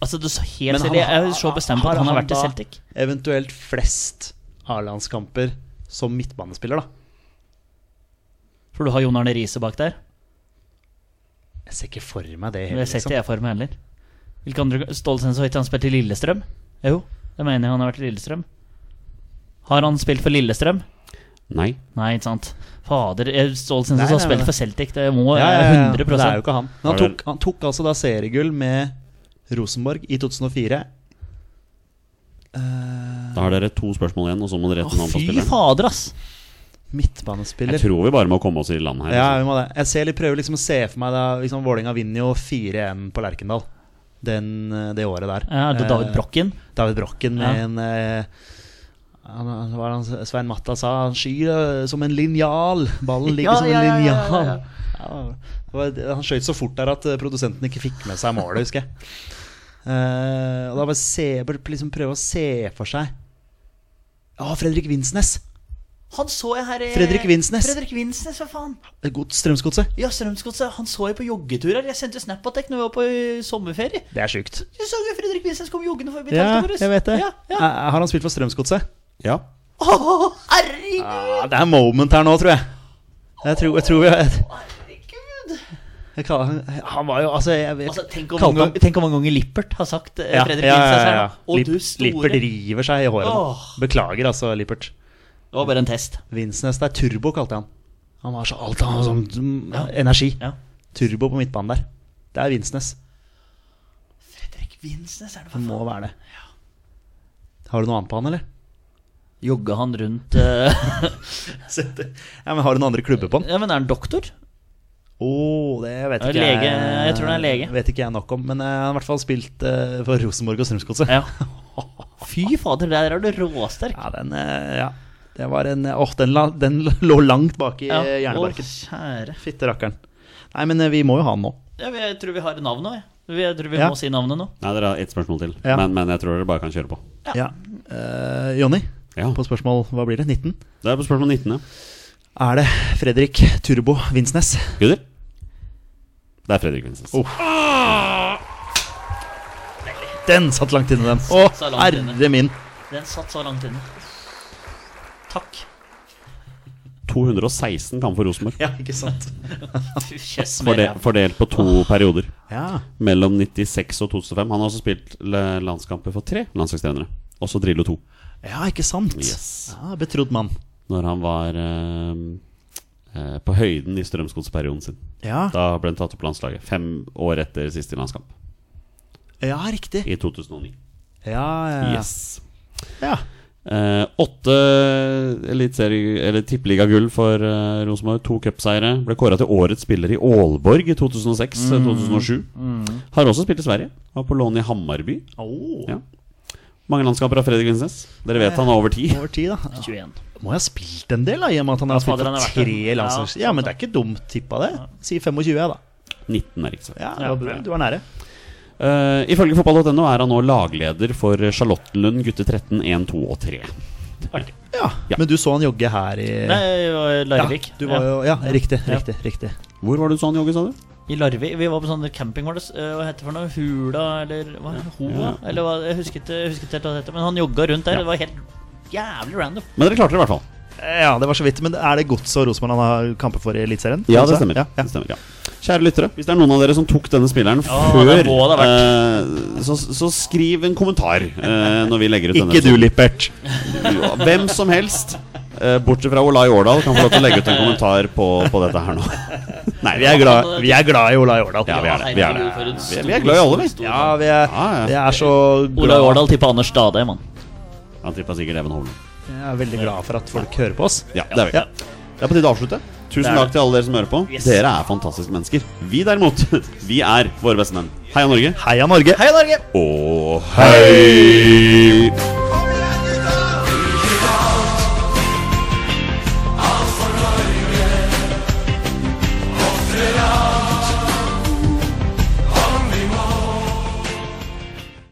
Speaker 2: Altså, du så helt
Speaker 3: Men
Speaker 2: stille.
Speaker 3: han-
Speaker 2: Jeg er så bestemt på
Speaker 3: har
Speaker 2: at han har
Speaker 3: han
Speaker 2: vært i
Speaker 3: da-
Speaker 2: Celtic.
Speaker 3: Eventuelt flest A-landskamper som midtbanespiller, da.
Speaker 2: For du har Jon Arne Riise bak der.
Speaker 3: Jeg ser ikke for meg det
Speaker 2: Det
Speaker 3: hele,
Speaker 2: ser
Speaker 3: liksom.
Speaker 2: ikke jeg for meg heller. Hvilke andre Ståle Sensor har ikke han spilt i Lillestrøm? Jo, det mener jeg han har vært i Lillestrøm. Har han spilt for Lillestrøm?
Speaker 1: Nei.
Speaker 2: Nei, ikke sant. Fader, eh, Ståle Sensor
Speaker 3: Nei,
Speaker 2: har
Speaker 3: nei,
Speaker 2: spilt
Speaker 3: nei.
Speaker 2: for Celtic, det må
Speaker 3: Ja,
Speaker 2: ja,
Speaker 3: ja, ja, ja. Men
Speaker 2: 100
Speaker 3: Det er jo ikke han. Men
Speaker 1: Har
Speaker 3: han
Speaker 1: dere-
Speaker 3: tok, han tok altså da seriegull med Rosenborg i 2004.
Speaker 1: Da har dere to spørsmål igjen, og så må dere gjette
Speaker 2: Å,
Speaker 1: navnet på
Speaker 2: fy
Speaker 1: spilleren.
Speaker 2: fader, ass!
Speaker 1: Jeg
Speaker 3: Midtbanespiller.
Speaker 1: tror vi bare må komme oss i land her.
Speaker 3: Ja,
Speaker 1: altså.
Speaker 3: vi må det. Jeg ser litt, prøver liksom å se for meg da liksom, Vålinga vinner jo 4-1 på Lerkendal den, eh, det året der.
Speaker 2: Ja, det er David
Speaker 3: Eh,
Speaker 2: Brokken.
Speaker 3: David Brokken med
Speaker 2: Ja.
Speaker 3: en eh, han, han- hva er det han, Svein Matta sa han skyr eh, som en linjal. Ballen ligger
Speaker 2: Ja,
Speaker 3: som en
Speaker 2: ja, ja,
Speaker 3: linjal.
Speaker 2: ja, ja, ja.
Speaker 3: Ja, det var- han skjøt så fort der at eh, produsenten ikke fikk med seg målet, husker jeg. Eh, og da bare se, bare liksom prøve å se for seg Ja, Fredrik Vinsnes!
Speaker 2: Han så jeg her i
Speaker 3: Fredrik Vinsnes.
Speaker 2: Fredrik Vinsnes, hva faen?
Speaker 3: Godt Strømsgodset.
Speaker 2: Ja, Strømsgodset. Han så jeg på joggetur her. Jeg sendte jo snap på deg når vi var på eh, sommerferie.
Speaker 3: Det er sjukt.
Speaker 2: Du så jo Fredrik Vinsnes kom joggende forbi
Speaker 3: Ja,
Speaker 2: teltet vårt.
Speaker 3: jeg vet det.
Speaker 2: Ja, ja.
Speaker 3: Eh, Har han spilt for Strømsgodset?
Speaker 1: Ja.
Speaker 2: Å, herregud!
Speaker 3: Ja, det er moment her nå, tror jeg. Jeg tror, jeg tror jeg,
Speaker 2: herregud.
Speaker 3: jeg, kaller- Han var jo Altså, jeg, jeg,
Speaker 2: Altså, tenk, om
Speaker 3: kalte
Speaker 2: mange
Speaker 3: han-
Speaker 2: ganger, tenk om mange ganger Lippert har sagt eh,
Speaker 3: Ja,
Speaker 2: Fredrik
Speaker 3: ja, ja,
Speaker 2: Vinsnes
Speaker 3: ja,
Speaker 2: her.
Speaker 3: ja.
Speaker 2: da. Og
Speaker 3: Lipp-
Speaker 2: du store
Speaker 3: Lippert river seg i håret nå.
Speaker 2: Åh.
Speaker 3: Beklager, altså, Lippert.
Speaker 2: Det var bare en test.
Speaker 3: Vinsnes, det er Turbo, kalte jeg han. Han var så alt Han var sånn mm, energi.
Speaker 2: Ja.
Speaker 3: Turbo på midtbanen der. Det er Vinsnes.
Speaker 2: Fredrik Vinsnes er det
Speaker 3: Det
Speaker 2: for faen.
Speaker 3: må være det. Har du noe annet på han, eller?
Speaker 2: Jogga han rundt eh,
Speaker 3: Ja, men Har du noen andre klubber på han?
Speaker 2: Ja, men er han doktor?
Speaker 3: Å, Oh, det vet
Speaker 2: Er
Speaker 3: ikke
Speaker 2: lege? Jeg tror han er lege.
Speaker 3: Vet ikke jeg nok om, men eh, han har i hvert fall spilt eh, for Rosenborg og Strømsgodset.
Speaker 2: Ja. Fy fader, der er du råsterk.
Speaker 3: Ja, den, eh, ja. Det var en, eh, åh, den, la, den lå langt bak i
Speaker 2: Ja.
Speaker 3: ja. hjernebarken.
Speaker 2: Å, kjære.
Speaker 3: Fitte rakkeren. Nei, men eh, vi må jo ha den nå.
Speaker 2: Ja, men jeg tror vi har navnet nå, jeg. Jeg tror vi
Speaker 3: Ja.
Speaker 2: må si navnet nå.
Speaker 1: Nei, dere har ett spørsmål til.
Speaker 3: Ja.
Speaker 1: Men, men jeg tror dere bare kan kjøre på.
Speaker 3: Ja. Eh, Jonny,
Speaker 1: Ja.
Speaker 3: på spørsmål hva blir det? 19?
Speaker 1: Det er på spørsmål 19, ja.
Speaker 3: Er det Fredrik Turbo Vinsnes?
Speaker 1: Gutter? Det er Fredrik Vinsnes.
Speaker 3: Den satt langt inne, den. Å,
Speaker 2: Så langt inne.
Speaker 3: herre min.
Speaker 2: Den satt så langt inne. Takk.
Speaker 1: 216 kamper for Rosenborg.
Speaker 3: Ja, ikke sant?
Speaker 2: Jøss, mer,
Speaker 1: Forde,
Speaker 2: ja.
Speaker 1: fordelt på to perioder.
Speaker 3: Ja.
Speaker 1: Mellom 96 og 2005. Han har også spilt le- landskamper for tre landslagstrenere. Også Drillo 2.
Speaker 3: ja, ikke sant?
Speaker 1: Yes.
Speaker 3: Ja, betrodd mann.
Speaker 1: Når han var eh, eh, på høyden i Strømsgodsperioden sin.
Speaker 3: Ja,
Speaker 1: Da ble han tatt opp på landslaget. Fem år etter siste landskamp.
Speaker 3: ja riktig.
Speaker 1: I 2009.
Speaker 3: Ja, ja, ja.
Speaker 1: Yes.
Speaker 3: ja.
Speaker 1: Eh, åtte elitserie- eller tippeligagull for eh, Rosenborg. To cupseiere. Ble kåra til årets spiller i Aalborg i eh, 2006-2007. Har også spilt i Sverige. Var på lån i Hammarby.
Speaker 3: Åh,
Speaker 1: Ja. Mange landskamper av Fredrik Vinsnes. Dere vet han er over ti.
Speaker 3: Over tid, da.
Speaker 2: 21.
Speaker 3: Må jeg ha spilt en del, da, i og med at han har
Speaker 2: Ja, fader,
Speaker 3: spilt
Speaker 2: han har
Speaker 3: for
Speaker 2: vært det.
Speaker 3: tre landslags...
Speaker 2: Ja,
Speaker 3: Ja, men det er ikke dumt tippa, det. Si 25, jeg, da.
Speaker 1: 19 er ikke sant.
Speaker 3: Ja, det var bra. Du var nære.
Speaker 1: Eh, ifølge fotball.no er han nå lagleder for Charlottenlund gutter 13, 1, 2 og 3.
Speaker 3: Ja.
Speaker 1: Ja.
Speaker 3: Men du så han jogge her i
Speaker 2: Nei, jeg var i Larvik.
Speaker 3: Ja, du var jo, ja, riktig, riktig, riktig.
Speaker 1: Hvor var det du så han jogge, sa du?
Speaker 2: I Larvik. Vi var på sånn camping, var det, s- eh, hva heter det for noe? Hula, eller hva? Hova?
Speaker 1: Ja.
Speaker 2: Eller hva? Jeg husker ikke, jeg husker ikke helt hva det heter, men han jogga rundt der. Det var helt jævlig random.
Speaker 1: Men dere klarte det i hvert fall.
Speaker 3: Ja, det var så vidt. Men er det Gods og Rosenborg han har kamper for i Eliteserien?
Speaker 1: Ja, det stemmer.
Speaker 3: Ja, ja.
Speaker 1: Det stemmer ja. Kjære lyttere, hvis det er noen av dere som tok denne spilleren
Speaker 2: Ja,
Speaker 1: før,
Speaker 2: det må det ha
Speaker 1: eh, så, så skriv en kommentar eh, når vi legger ut denne.
Speaker 3: Ikke du, Lippert.
Speaker 1: episoden. Hvem som helst, eh, bortsett fra Olai Årdal, kan få lov til å legge ut en kommentar på, på dette her nå. Nei,
Speaker 3: Vi er glad, vi er glad i Olai Årdal.
Speaker 1: Ja, vi er det. Vi er, det.
Speaker 2: For en
Speaker 1: Vi
Speaker 2: stor,
Speaker 1: er, vi er glad i alle, vi.
Speaker 2: stor
Speaker 3: Ja, vi er,
Speaker 1: Ja, ja.
Speaker 3: vi er så
Speaker 2: Ola
Speaker 3: glad-
Speaker 2: Årdal tippa Anders Stade, mann.
Speaker 1: Han tippa sikkert Even Hovland.
Speaker 3: Jeg er veldig glad for at folk hører på oss.
Speaker 1: Ja, det er vi.
Speaker 3: Ja.
Speaker 1: Det er på tide å avslutte. Tusen
Speaker 2: er
Speaker 1: takk til alle dere som hører på.
Speaker 2: Yes.
Speaker 1: Dere er fantastiske mennesker. Vi derimot, vi er våre beste menn. Heia Norge.
Speaker 3: Heia Norge! Heia Norge!
Speaker 1: Og hei!